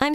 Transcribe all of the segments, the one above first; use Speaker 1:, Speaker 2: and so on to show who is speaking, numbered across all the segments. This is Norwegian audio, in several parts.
Speaker 1: I'm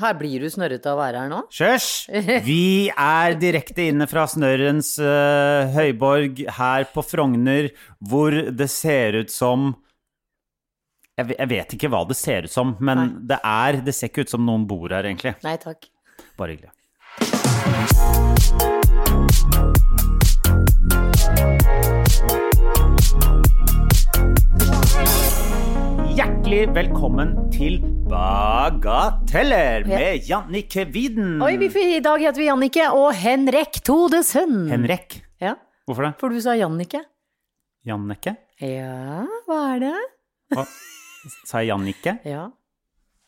Speaker 2: Her blir du snørrete av å være her nå.
Speaker 3: Kjørs! Vi er direkte inne fra Snørrens eh, høyborg her på Frogner, hvor det ser ut som jeg, ve- jeg vet ikke hva det ser ut som, men det er Det ser ikke ut som noen bor her, egentlig.
Speaker 2: Nei takk.
Speaker 3: Bare hyggelig. Hjertelig velkommen til Bagateller med Jannicke Widen.
Speaker 2: Oi, vi, I dag heter vi Jannicke og Henrik Todesen.
Speaker 3: Henrik.
Speaker 2: Ja,
Speaker 3: Mm. Hvorfor det?
Speaker 2: for du sa Jannicke.
Speaker 3: Jannicke?
Speaker 2: Ja, hva er det?
Speaker 3: Hva? Sa jeg Jannicke?
Speaker 2: Ja.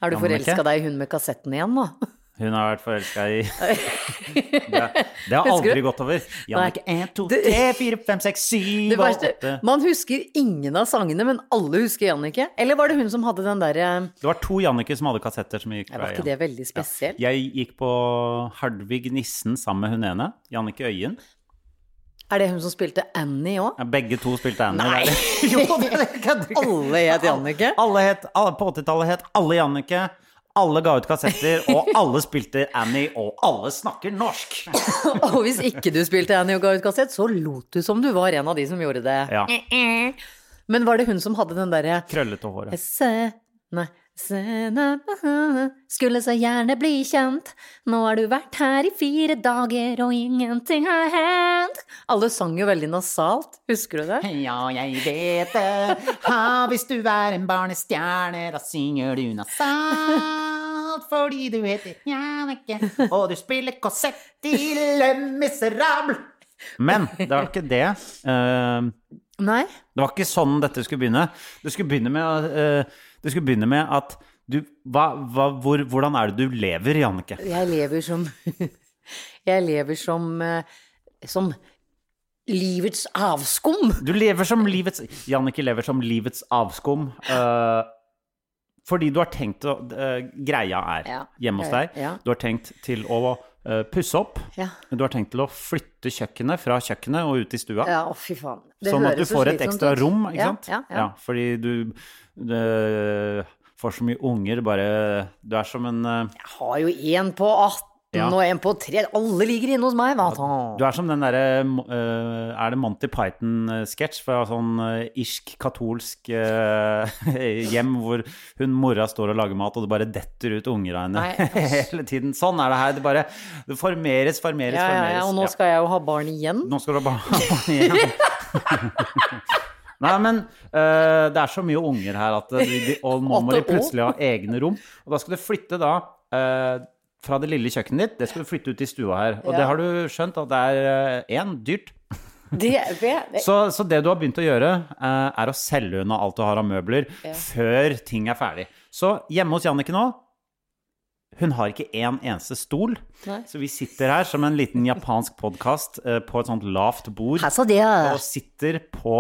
Speaker 2: Er du
Speaker 3: Jannicke?
Speaker 2: forelska deg i hun med kassetten igjen nå?
Speaker 3: Hun har vært forelska i det, det har
Speaker 2: Husker du?
Speaker 3: aldri gått over. Jannicke 1, 2, 3, 4, 5, 6, 7
Speaker 2: Det
Speaker 3: og
Speaker 2: verste,
Speaker 3: 8.
Speaker 2: man husker ingen av sangene, men alle husker Jannicke. Eller var det hun som hadde den derre
Speaker 3: Det var to Jannicke som hadde kassetter som gikk fra
Speaker 2: Var ikke
Speaker 3: igjen.
Speaker 2: det veldig spesielt?
Speaker 3: Jeg gikk på Hardvig Nissen sammen med hun ene, Jannicke Øyen.
Speaker 2: Er det hun som spilte Annie òg?
Speaker 3: Ja, Begge to spilte Annie.
Speaker 2: Nei.
Speaker 3: der. jo, det kødder ikke.
Speaker 2: Alle het Jannicke.
Speaker 3: Alle het, alle, på 80-tallet het alle Jannicke. Alle ga ut kassetter, og alle spilte Annie, og alle snakker norsk.
Speaker 2: Og hvis ikke du spilte Annie og ga ut kassett, så lot du som du var en av de som gjorde det.
Speaker 3: Ja,
Speaker 2: Men var det hun som hadde den eh, derre
Speaker 3: Krøllete håret.
Speaker 2: Se, nei, se, na, na, na, na. Skulle så gjerne bli kjent. Nå har du vært her i fire dager, og ingenting har hendt. Alle sang jo veldig nasalt, husker du det?
Speaker 3: Ja, jeg vet det. Ha, hvis du er en barnestjerne, da synger du nasalt fordi du heter Jannicke, og du spiller korsett i Le Miserable. Men det var ikke det. eh,
Speaker 2: Nei?
Speaker 3: Det var ikke sånn dette skulle begynne. Det skulle begynne med, eh, det skulle begynne med at du, hva, hva, hvor, Hvordan er det du lever, Jannicke?
Speaker 2: Jeg lever som Jeg lever som eh, Som livets avskum.
Speaker 3: Du lever som livets Jannicke lever som livets avskum. eh, fordi du har tenkt å eh, Greia er
Speaker 2: Ja.
Speaker 3: hjemme hos deg.
Speaker 2: Ja.
Speaker 3: Du har tenkt til å eh, pusse opp.
Speaker 2: Ja.
Speaker 3: Du har tenkt til å flytte kjøkkenet fra kjøkkenet og ut i stua.
Speaker 2: Ja, å fy faen. Det
Speaker 3: sånn at du
Speaker 2: høres så
Speaker 3: får et
Speaker 2: slitsomt
Speaker 3: ekstra
Speaker 2: ut.
Speaker 3: rom, ikke sant?
Speaker 2: Ja, ja, ja.
Speaker 3: fordi du eh, får så mye unger, bare Du er som en eh,
Speaker 2: Jeg har jo én på 18
Speaker 3: Ja.
Speaker 2: og én på 3. Alle ligger inne hos meg, hva faen.
Speaker 3: Du er som den derre eh, Er det Monty Python-sketsj fra sånn eh, irsk, katolsk eh, hjem hvor hun mora står og lager mat, og det bare detter ut unger av henne
Speaker 2: Nei.
Speaker 3: hele tiden? Sånn er det her. Det bare det formeres, formeres,
Speaker 2: Ja, ja,
Speaker 3: formeres.
Speaker 2: ja, og nå skal jeg jo ha barn igjen.
Speaker 3: Nå skal du bare igjen. Nei, men eh, det er så mye unger her at de, de, og nå må de
Speaker 2: Åtte år.
Speaker 3: plutselig ha egne rom. Og da skal du flytte da eh, fra det lille kjøkkenet ditt, det skal du flytte ut i stua her. Og
Speaker 2: Ja.
Speaker 3: det har du skjønt at det er én dyrt.
Speaker 2: Det, det, det.
Speaker 3: Så, så det du har begynt å gjøre, eh, er å selge unna alt du har av møbler før ting er ferdig. Så hjemme hos Jannicke nå hun har ikke én eneste stol,
Speaker 2: Nei.
Speaker 3: så vi sitter her som en liten japansk podkast på et sånt lavt bord
Speaker 2: Her sa Altså, det.
Speaker 3: og sitter på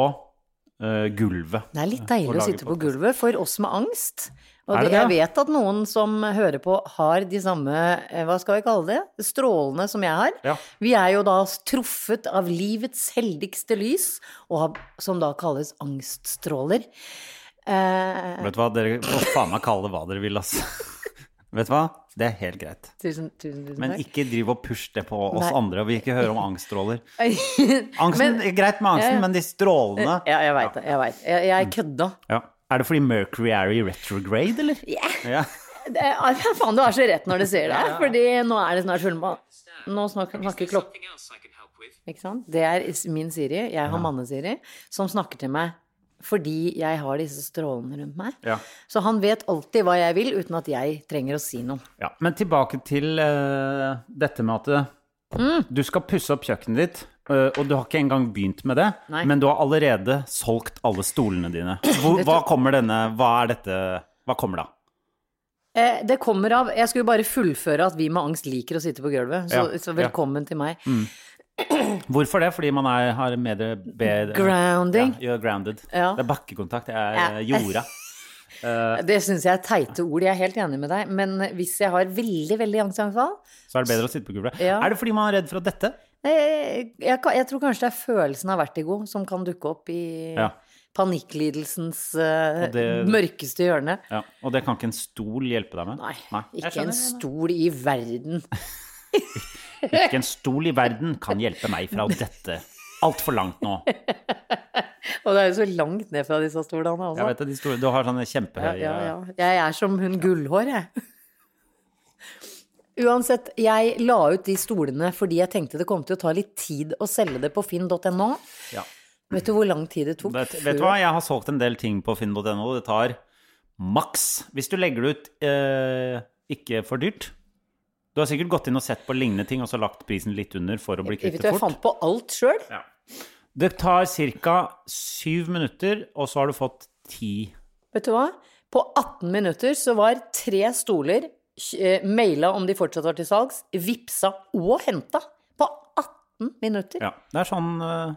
Speaker 3: eh, gulvet.
Speaker 2: Det er litt deilig å
Speaker 3: lage
Speaker 2: sitte på
Speaker 3: podcast.
Speaker 2: gulvet for oss med angst. Og
Speaker 3: Er det
Speaker 2: det,
Speaker 3: det?
Speaker 2: jeg vet at noen som hører på, har de samme, eh, hva skal vi kalle det, strålene som jeg har.
Speaker 3: Ja.
Speaker 2: Vi er jo da truffet av livets heldigste lys, og har, som da kalles angststråler. Eh,
Speaker 3: Vet du hva, dere får faen meg kalle det hva dere vil, altså. Vet du hva, det er helt greit.
Speaker 2: tusen, tusen, tusen
Speaker 3: Men
Speaker 2: takk.
Speaker 3: ikke driv og push det på oss
Speaker 2: Nei.
Speaker 3: andre, og vi ikke hører om angststråler. Angsten, greit med
Speaker 2: Ja,
Speaker 3: angsten,
Speaker 2: ja.
Speaker 3: men de strålene
Speaker 2: ja, jeg veit det. Jeg vet. Jeg,
Speaker 3: Mm.
Speaker 2: jeg kødda.
Speaker 3: Ja. Er det fordi Mercury er i retrograde, eller? Ja.
Speaker 2: Det er, faen, du har så rett når du sier det, fordi nå er det snart fullmåne. Nå snakker, snakker klokken.
Speaker 4: Something else I can help with.
Speaker 2: Ikke sant? Det er is- min Siri, jeg har manne-Siri, som snakker til meg fordi jeg har disse strålene rundt meg.
Speaker 3: Ja.
Speaker 2: Så han vet alltid hva jeg vil, uten at jeg trenger å si noe.
Speaker 3: ja. Men tilbake til eh, dette med at
Speaker 2: Mm.
Speaker 3: eh, du skal pusse opp kjøkkenet ditt, eh, og du har ikke engang begynt med det,
Speaker 2: Nei.
Speaker 3: men du har allerede solgt alle stolene dine. Hvor, hva kommer denne Hva er dette Hva kommer da?
Speaker 2: Eh, det kommer av Jeg skulle bare fullføre at vi med angst liker å sitte på gulvet, så,
Speaker 3: Ja,
Speaker 2: så
Speaker 3: ja. Mm.
Speaker 2: velkommen til meg.
Speaker 3: Hvorfor det? Fordi man er, har mer bed...
Speaker 2: Grounding.
Speaker 3: Ja, you're grounded.
Speaker 2: Ja.
Speaker 3: Det er bakkekontakt. Jeg
Speaker 2: Ja.
Speaker 3: er eh, jorda.
Speaker 2: Det syns jeg er teite ord, jeg er helt enig med deg, men hvis jeg har veldig, veldig angstanfall
Speaker 3: Så er det bedre å sitte på gulvet.
Speaker 2: Ja.
Speaker 3: Er det fordi man er redd for å dette?
Speaker 2: jeg, jeg, kan- jeg tror kanskje det er følelsen av vertigo som kan dukke opp i
Speaker 3: Ja.
Speaker 2: panikklidelsens eh,
Speaker 3: Og det-
Speaker 2: mørkeste hjørne.
Speaker 3: Ja. Og det kan ikke en stol hjelpe deg med?
Speaker 2: Nei, ikke
Speaker 3: Jeg
Speaker 2: en
Speaker 3: skjønner.
Speaker 2: stol i verden.
Speaker 3: Ikke en stol i verden kan hjelpe meg fra dette. Altfor langt nå.
Speaker 2: Og det er jo så langt ned fra disse stolene, altså.
Speaker 3: Jeg vet det, de store, Du har sånne
Speaker 2: Ja,
Speaker 3: kjempehøye
Speaker 2: ja, ja. Jeg er som hun gullhår, jeg. Uansett, jeg la ut de stolene fordi jeg tenkte det kom til å ta litt tid å selge det på finn.no.
Speaker 3: Ja.
Speaker 2: Vet du hvor lang tid det tok?
Speaker 3: Det, vet du hva, jeg har solgt en del ting på finn.no. Det tar maks Hvis du legger det ut eh, ikke for dyrt Du har sikkert gått inn og sett på lignende ting og så lagt prisen litt under for å bli
Speaker 2: Vet
Speaker 3: kvitt
Speaker 2: du hva
Speaker 3: det
Speaker 2: jeg
Speaker 3: fort.
Speaker 2: fant på alt sjøl?
Speaker 3: Ja. Det tar ca. syv minutter, og så har du fått ti.
Speaker 2: Vet du hva? På 18 minutter så var tre stoler eh, maila om de fortsatt var til salgs, vipsa og henta. På 18 minutter.
Speaker 3: Ja, det er sånn eh,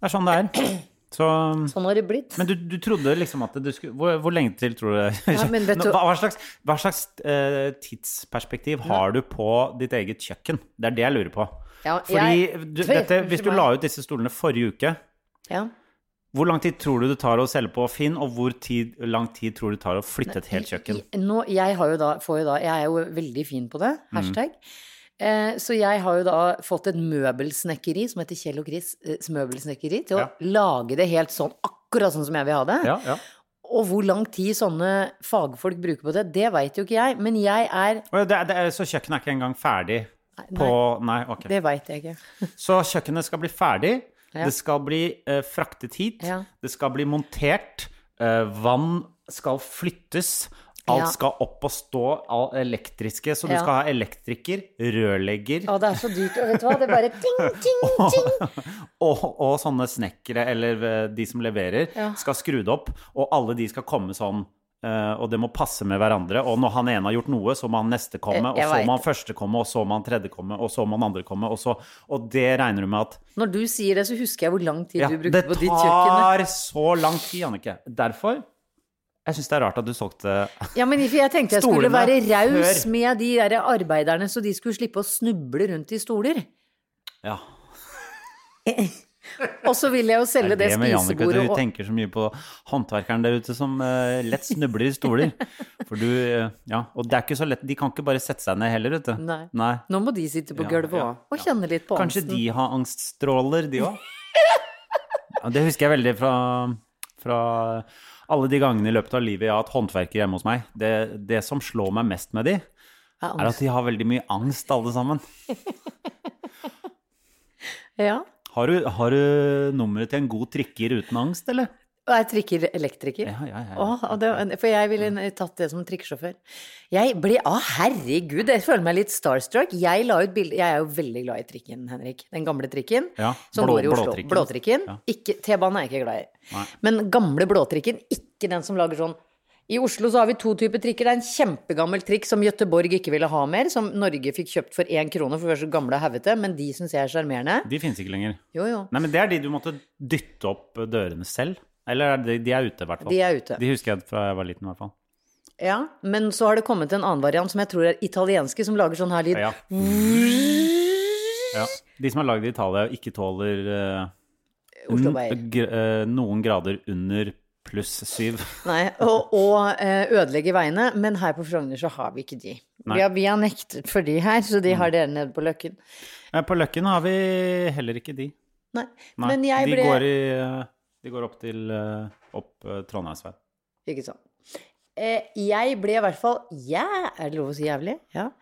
Speaker 3: Det er sånn det er. Så,
Speaker 2: Sånn har det blitt.
Speaker 3: men du, du trodde liksom at du skulle Hvor, hvor lenge til tror du
Speaker 2: Ja, men vet du-
Speaker 3: Hva, hva slags, hva slags eh, tidsperspektiv har du på ditt eget kjøkken? Det er det jeg lurer på.
Speaker 2: Ja,
Speaker 3: Fordi
Speaker 2: jeg-
Speaker 3: du, dette,
Speaker 2: Unnskyld
Speaker 3: Hvis du
Speaker 2: meg.
Speaker 3: la ut disse stolene forrige uke,
Speaker 2: ja.
Speaker 3: hvor lang tid tror du det tar å selge på Finn, og hvor tid, lang tid tror du det tar å flytte et helt kjøkken?
Speaker 2: Nå, jeg, har jo da, får jo da, jeg er jo veldig fin på det,
Speaker 3: Mm.
Speaker 2: hashtag. Eh, så jeg har jo da fått et møbelsnekkeri som heter Kjell og Chris eh, møbelsnekkeri, til å
Speaker 3: Ja.
Speaker 2: lage det helt sånn, akkurat sånn som jeg vil ha det.
Speaker 3: Ja, ja.
Speaker 2: Og hvor lang tid sånne fagfolk bruker på det, det veit jo ikke jeg. Men jeg er
Speaker 3: Å ja, Det, er- det, er- så kjøkkenet er ikke engang ferdig på Nei, ok.
Speaker 2: Det veit jeg ikke.
Speaker 3: Så kjøkkenet skal bli ferdig.
Speaker 2: Ja.
Speaker 3: Det skal bli eh, fraktet hit.
Speaker 2: Ja.
Speaker 3: Det skal bli montert. eh, vann skal flyttes. Alt
Speaker 2: Ja.
Speaker 3: skal opp og stå, all elektriske. Så du
Speaker 2: Ja.
Speaker 3: skal ha elektriker, rørlegger
Speaker 2: Ja, det er så dyrt. Og vet du hva, det er bare ting, ting, ting.
Speaker 3: og, og sånne snekkere, eller eh, de som leverer,
Speaker 2: Ja.
Speaker 3: skal skru det opp. Og alle de skal komme sånn. eh, og det må passe med hverandre. Og når han ene har gjort noe, så må han neste komme.
Speaker 2: Jeg- jeg
Speaker 3: Og så
Speaker 2: vet.
Speaker 3: må han første komme, og så må han tredje komme, og så må han andre komme. Og, så, og det regner du med at
Speaker 2: Når du sier det, så husker jeg hvor lang tid
Speaker 3: Ja,
Speaker 2: du
Speaker 3: det
Speaker 2: brukte på ditt kjøkken.
Speaker 3: tar så lang tid, Annike. Derfor Jeg syns det er rart at du solgte
Speaker 2: Ja, men for jeg tenkte jeg skulle
Speaker 3: Stolene
Speaker 2: være raus
Speaker 3: før.
Speaker 2: med de der arbeiderne, så de skulle slippe å snuble rundt i stoler.
Speaker 3: Ja.
Speaker 2: Og så vil jeg jo selge
Speaker 3: Det
Speaker 2: det,
Speaker 3: er det med Jannicke,
Speaker 2: spisebordet
Speaker 3: du
Speaker 2: og
Speaker 3: tenker så mye på håndverkeren der ute som eh, lett snubler i stoler. For du eh, Ja, og det er ikke så lett De kan ikke bare sette seg ned heller, vet du.
Speaker 2: Nei. Nå må de sitte på
Speaker 3: Ja,
Speaker 2: gulvet
Speaker 3: ja,
Speaker 2: også, og kjenne litt på
Speaker 3: Kanskje
Speaker 2: angsten.
Speaker 3: de har angststråler, de òg. Det husker jeg veldig fra, fra alle de gangene i løpet av livet jeg har hatt håndverkere hjemme hos meg. Det, det som slår meg mest med de,
Speaker 2: Ja,
Speaker 3: er at de har veldig mye angst, alle sammen.
Speaker 2: Ja.
Speaker 3: Har du, har du nummeret til en god trikker uten angst, eller?
Speaker 2: Og jeg trikker elektriker.
Speaker 3: Ja, ja, ja, ja.
Speaker 2: Åh, og det, var- for jeg ville n- tatt det som trikkesjåfør. Jeg ble Å, herregud, jeg føler meg litt starstruck. Jeg la ut bilde Jeg er jo veldig glad i trikken, Henrik. Den gamle trikken
Speaker 3: Ja,
Speaker 2: som
Speaker 3: blå-
Speaker 2: går i Oslo.
Speaker 3: blåtrikken.
Speaker 2: Blåtrikken.
Speaker 3: Ja.
Speaker 2: Ikke- T-banen er jeg ikke glad i.
Speaker 3: Nei.
Speaker 2: Men gamle blåtrikken, ikke den som lager sånn I Oslo så har vi to typer trikker. Det er en kjempegammel trikk som Gøteborg ikke ville ha mer, som Norge fikk kjøpt for én krone, for vi er så gamle og haugete, men de syns jeg er sjarmerende.
Speaker 3: De finnes ikke lenger.
Speaker 2: Jo, jo.
Speaker 3: Nei, men det er de du måtte dytte opp dørene selv. Eller er de, de er ute, i hvert fall.
Speaker 2: De er ute.
Speaker 3: De husker jeg fra jeg var liten, i hvert fall.
Speaker 2: Ja, men så har det kommet en annen variant som jeg tror er italienske, som lager sånn her lyd.
Speaker 3: Ja. ja. De som er lagd i Italia, ikke tåler eh,
Speaker 2: Osloveier.
Speaker 3: n- gr- eh, noen grader under pluss syv.
Speaker 2: Nei, og, og eh, ødelegge veiene, men her på Frogner så har vi ikke de.
Speaker 3: Nei. Mm.
Speaker 2: Vi har, vi har nektet for de her, så de har dere nede på Løkken.
Speaker 3: Eh, På Løkken har vi heller ikke de.
Speaker 2: Nei,
Speaker 3: Nei,
Speaker 2: men jeg
Speaker 3: de,
Speaker 2: ble
Speaker 3: går i, eh, de går opp til eh, opp eh, Trondheimsveien.
Speaker 2: Ikke sant. Eh, jeg ble i hvert fall jæ... Er det lov å si jævlig? Ja.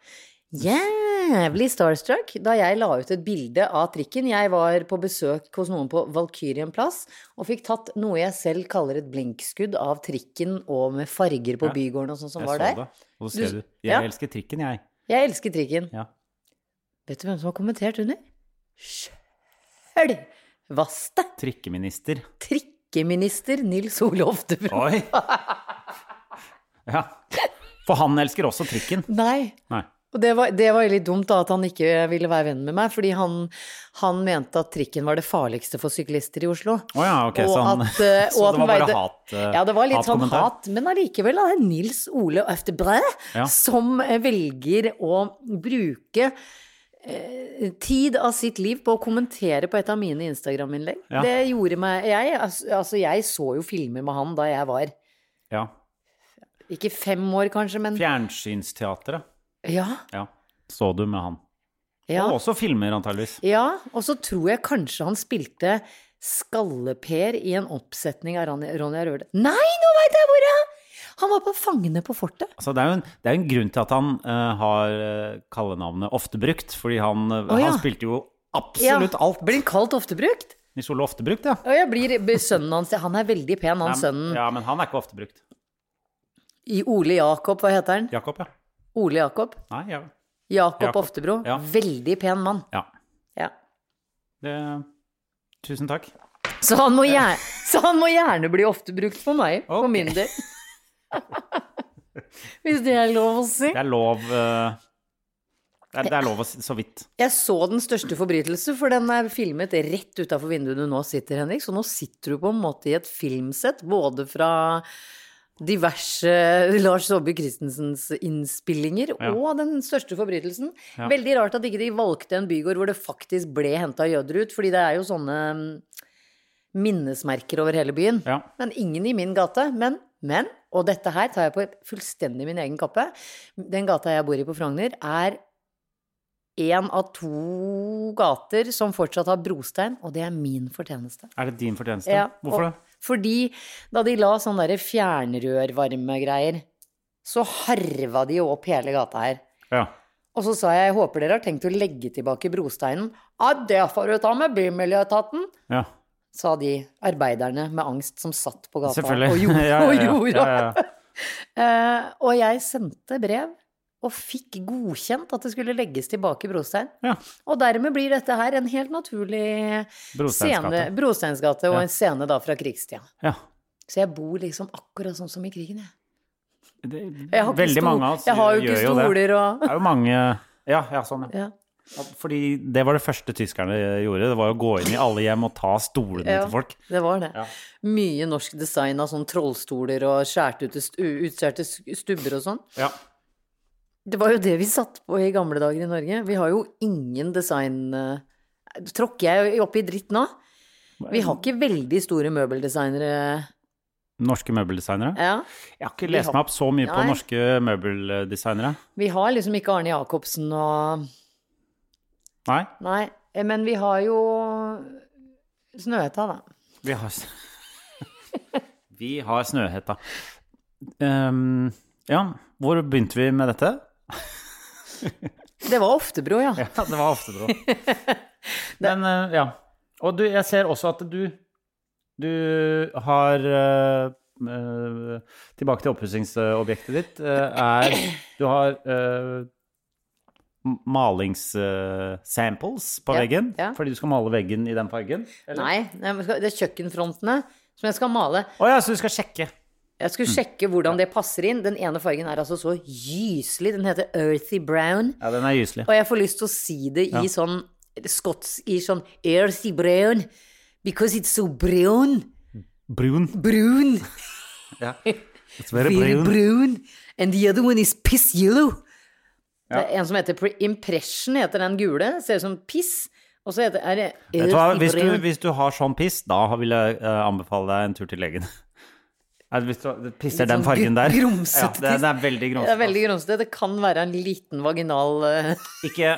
Speaker 2: Jævlig starstruck da jeg la ut et bilde av trikken. Jeg var på besøk hos noen på Valkyrien plass og fikk tatt noe jeg selv kaller et blinkskudd av trikken og med farger på
Speaker 3: Ja,
Speaker 2: bygården og sånn som
Speaker 3: Jeg
Speaker 2: var
Speaker 3: så
Speaker 2: der.
Speaker 3: det. Og så
Speaker 2: Du-
Speaker 3: ser du. Jeg
Speaker 2: ja.
Speaker 3: elsker trikken, jeg.
Speaker 2: Jeg elsker trikken.
Speaker 3: Ja.
Speaker 2: Vet du hvem som har kommentert under? Sjølvaste
Speaker 3: Trikkeminister.
Speaker 2: trikkeminister Nils Ole Oftebro.
Speaker 3: Oi! Ja. For han elsker også trikken.
Speaker 2: Nei.
Speaker 3: Nei.
Speaker 2: Og det var, det var litt dumt da, at han ikke ville være venn med meg, fordi han, han mente at trikken var det farligste for syklister i Oslo.
Speaker 3: Å ja, ok,
Speaker 2: Og
Speaker 3: så han-
Speaker 2: at, eh, og at
Speaker 3: så det var
Speaker 2: han
Speaker 3: bare
Speaker 2: veide-
Speaker 3: hat, eh,
Speaker 2: Ja, det var litt sånn
Speaker 3: hatkommentar.
Speaker 2: hat, men allikevel da, det er Nils Ole Øftebræ
Speaker 3: Ja.
Speaker 2: som eh, velger å bruke eh, tid av sitt liv på å kommentere på et av mine Instagram-innlegg.
Speaker 3: Ja.
Speaker 2: Det gjorde meg jeg, altså, jeg så jo filmer med han da jeg var
Speaker 3: Ja.
Speaker 2: ikke fem år, kanskje, men
Speaker 3: Fjernsynsteatret.
Speaker 2: Ja.
Speaker 3: Ja. Så du med han.
Speaker 2: ja.
Speaker 3: Og også filmer, antageligvis.
Speaker 2: Ja, og så tror jeg kanskje han spilte Skalleper i en oppsetning av Ronja Ronja Røde. Nei, nå veit jeg hvor det er! Han var på Fangene på fortet.
Speaker 3: Altså, det, er jo en, det er jo en grunn til at han eh, har eh, kallenavnet ofte brukt, fordi han, eh,
Speaker 2: ja.
Speaker 3: han spilte jo absolutt alt.
Speaker 2: Blir han kalt oftebrukt?
Speaker 3: Nils Ole ofte brukt, ja.
Speaker 2: Ja, jeg blir blir sønnen hans Han er veldig pen, han
Speaker 3: Nei,
Speaker 2: sønnen.
Speaker 3: Ja, men han er ikke ofte brukt.
Speaker 2: I Ole Jakob, hva heter han?
Speaker 3: Jakob, ja.
Speaker 2: Ole Jakob.
Speaker 3: Nei, ja.
Speaker 2: Jakob
Speaker 3: Jakob,
Speaker 2: Oftebro.
Speaker 3: ja.
Speaker 2: Veldig pen mann.
Speaker 3: ja.
Speaker 2: Ja.
Speaker 3: Det, tusen takk.
Speaker 2: Så, han må gjerne, så han må gjerne bli oftebrukt for meg, for
Speaker 3: Ok.
Speaker 2: min del. Hvis det er lov å si.
Speaker 3: Det er lov eh, det, er, det er lov å si så vidt.
Speaker 2: Jeg så den største forbrytelse, for den er filmet rett utafor vinduet du nå sitter, Henrik. Så nå sitter du på en måte i et filmsett, både fra diverse Lars Saabye Christensens innspillinger
Speaker 3: Ja.
Speaker 2: og den største forbrytelsen. Veldig rart at ikke de valgte en bygård hvor det faktisk ble henta jøder ut, fordi det er jo sånne mm, minnesmerker over hele byen.
Speaker 3: Ja.
Speaker 2: Men ingen i min gate. Men, men, og dette her tar jeg på fullstendig min egen kappe, den gata jeg bor i på Frogner, er én av to gater som fortsatt har brostein, og det er min fortjeneste.
Speaker 3: Er det din fortjeneste?
Speaker 2: Ja,
Speaker 3: Hvorfor
Speaker 2: og,
Speaker 3: det?
Speaker 2: Fordi da de la sånne derre fjernrørvarmegreier, så harva de jo opp hele gata her.
Speaker 3: Ja.
Speaker 2: Og så sa jeg, jeg håper dere har tenkt å legge tilbake brosteinen. Ja, det får du ta med Bymiljøetaten
Speaker 3: ja.
Speaker 2: sa de arbeiderne med angst som satt på gata
Speaker 3: Selvfølgelig.
Speaker 2: og gjorde.
Speaker 3: Ja, ja, ja.
Speaker 2: Og, gjorde.
Speaker 3: Ja, ja, ja.
Speaker 2: Eh, og jeg sendte brev og fikk godkjent at det skulle legges tilbake brostein.
Speaker 3: Ja.
Speaker 2: Og dermed blir dette her en helt naturlig
Speaker 3: Brosteinsgate.
Speaker 2: scene, brosteinsgate og
Speaker 3: Ja.
Speaker 2: en scene da fra krigstida.
Speaker 3: ja.
Speaker 2: Så jeg bor liksom akkurat sånn som i krigen, jeg.
Speaker 3: Det,
Speaker 2: jeg har ikke
Speaker 3: veldig
Speaker 2: stol-
Speaker 3: mange av oss
Speaker 2: Jeg har jo
Speaker 3: gjør
Speaker 2: ikke
Speaker 3: jo det.
Speaker 2: stoler og
Speaker 3: Det er jo mange Ja, ja sånn, ja.
Speaker 2: ja.
Speaker 3: Fordi det var det første tyskerne gjorde. Det var å gå inn i alle hjem og ta stolene
Speaker 2: Ja.
Speaker 3: til folk.
Speaker 2: Det var det.
Speaker 3: Ja.
Speaker 2: Mye norsk design av sånn trollstoler og skjært ut, utskjærte stubber og sånn.
Speaker 3: Ja.
Speaker 2: Det var jo det vi satt på i gamle dager i Norge. Vi har jo ingen design eh, Tråkker jeg opp i dritt nå? Vi har ikke veldig store møbeldesignere.
Speaker 3: Norske møbeldesignere.
Speaker 2: Ja.
Speaker 3: Jeg har ikke lest meg opp så mye på
Speaker 2: Nei.
Speaker 3: norske møbeldesignere.
Speaker 2: Vi har liksom ikke Arne Jacobsen og
Speaker 3: Nei.
Speaker 2: Nei. eh, Men vi har jo Snøhetta, da.
Speaker 3: Vi har s- Vi har Snøhetta. Ehm, ja, hvor begynte vi med dette?
Speaker 2: Det var Oftebro, ja.
Speaker 3: Ja, det var Oftebro. Men eh, ja. Og du, jeg ser også at du Du har eh, eh, Tilbake til oppussingsobjektet ditt. eh, er Du har eh, m- malings malingssamples på
Speaker 2: Ja,
Speaker 3: veggen.
Speaker 2: ja.
Speaker 3: Fordi du skal male veggen i den fargen. Eller?
Speaker 2: Nei, nei, men skal- det er kjøkkenfrontene som jeg skal male.
Speaker 3: Å ja, så du skal sjekke.
Speaker 2: Jeg skulle sjekke hvordan det passer inn. Den ene fargen er altså så gyselig. Den heter earthy brown.
Speaker 3: Ja, den er gyselig.
Speaker 2: Og jeg får lyst til å si det i sånn skotsk I sånn Earthy brown. Because it's so brown.
Speaker 3: Brun.
Speaker 2: Brun.
Speaker 3: It's very
Speaker 2: Very
Speaker 3: brun.
Speaker 2: brown. And the other one is piss yellow. Det er en som heter Pre- Impression, heter den gule. Ser ut som piss. Og så heter er det
Speaker 3: Vet du hva,
Speaker 2: Earthy
Speaker 3: hvis du,
Speaker 2: brown.
Speaker 3: hvis du har sånn piss, da vil jeg eh, anbefale deg en tur til legen. Nei, Hvis du pisser
Speaker 2: Litt
Speaker 3: den
Speaker 2: sånn
Speaker 3: fargen der.
Speaker 2: gr- grumsete
Speaker 3: ja, det, det er veldig
Speaker 2: Det er
Speaker 3: grumsete.
Speaker 2: veldig grumsete. Det kan være en liten vaginal eh,
Speaker 3: ass. Ikke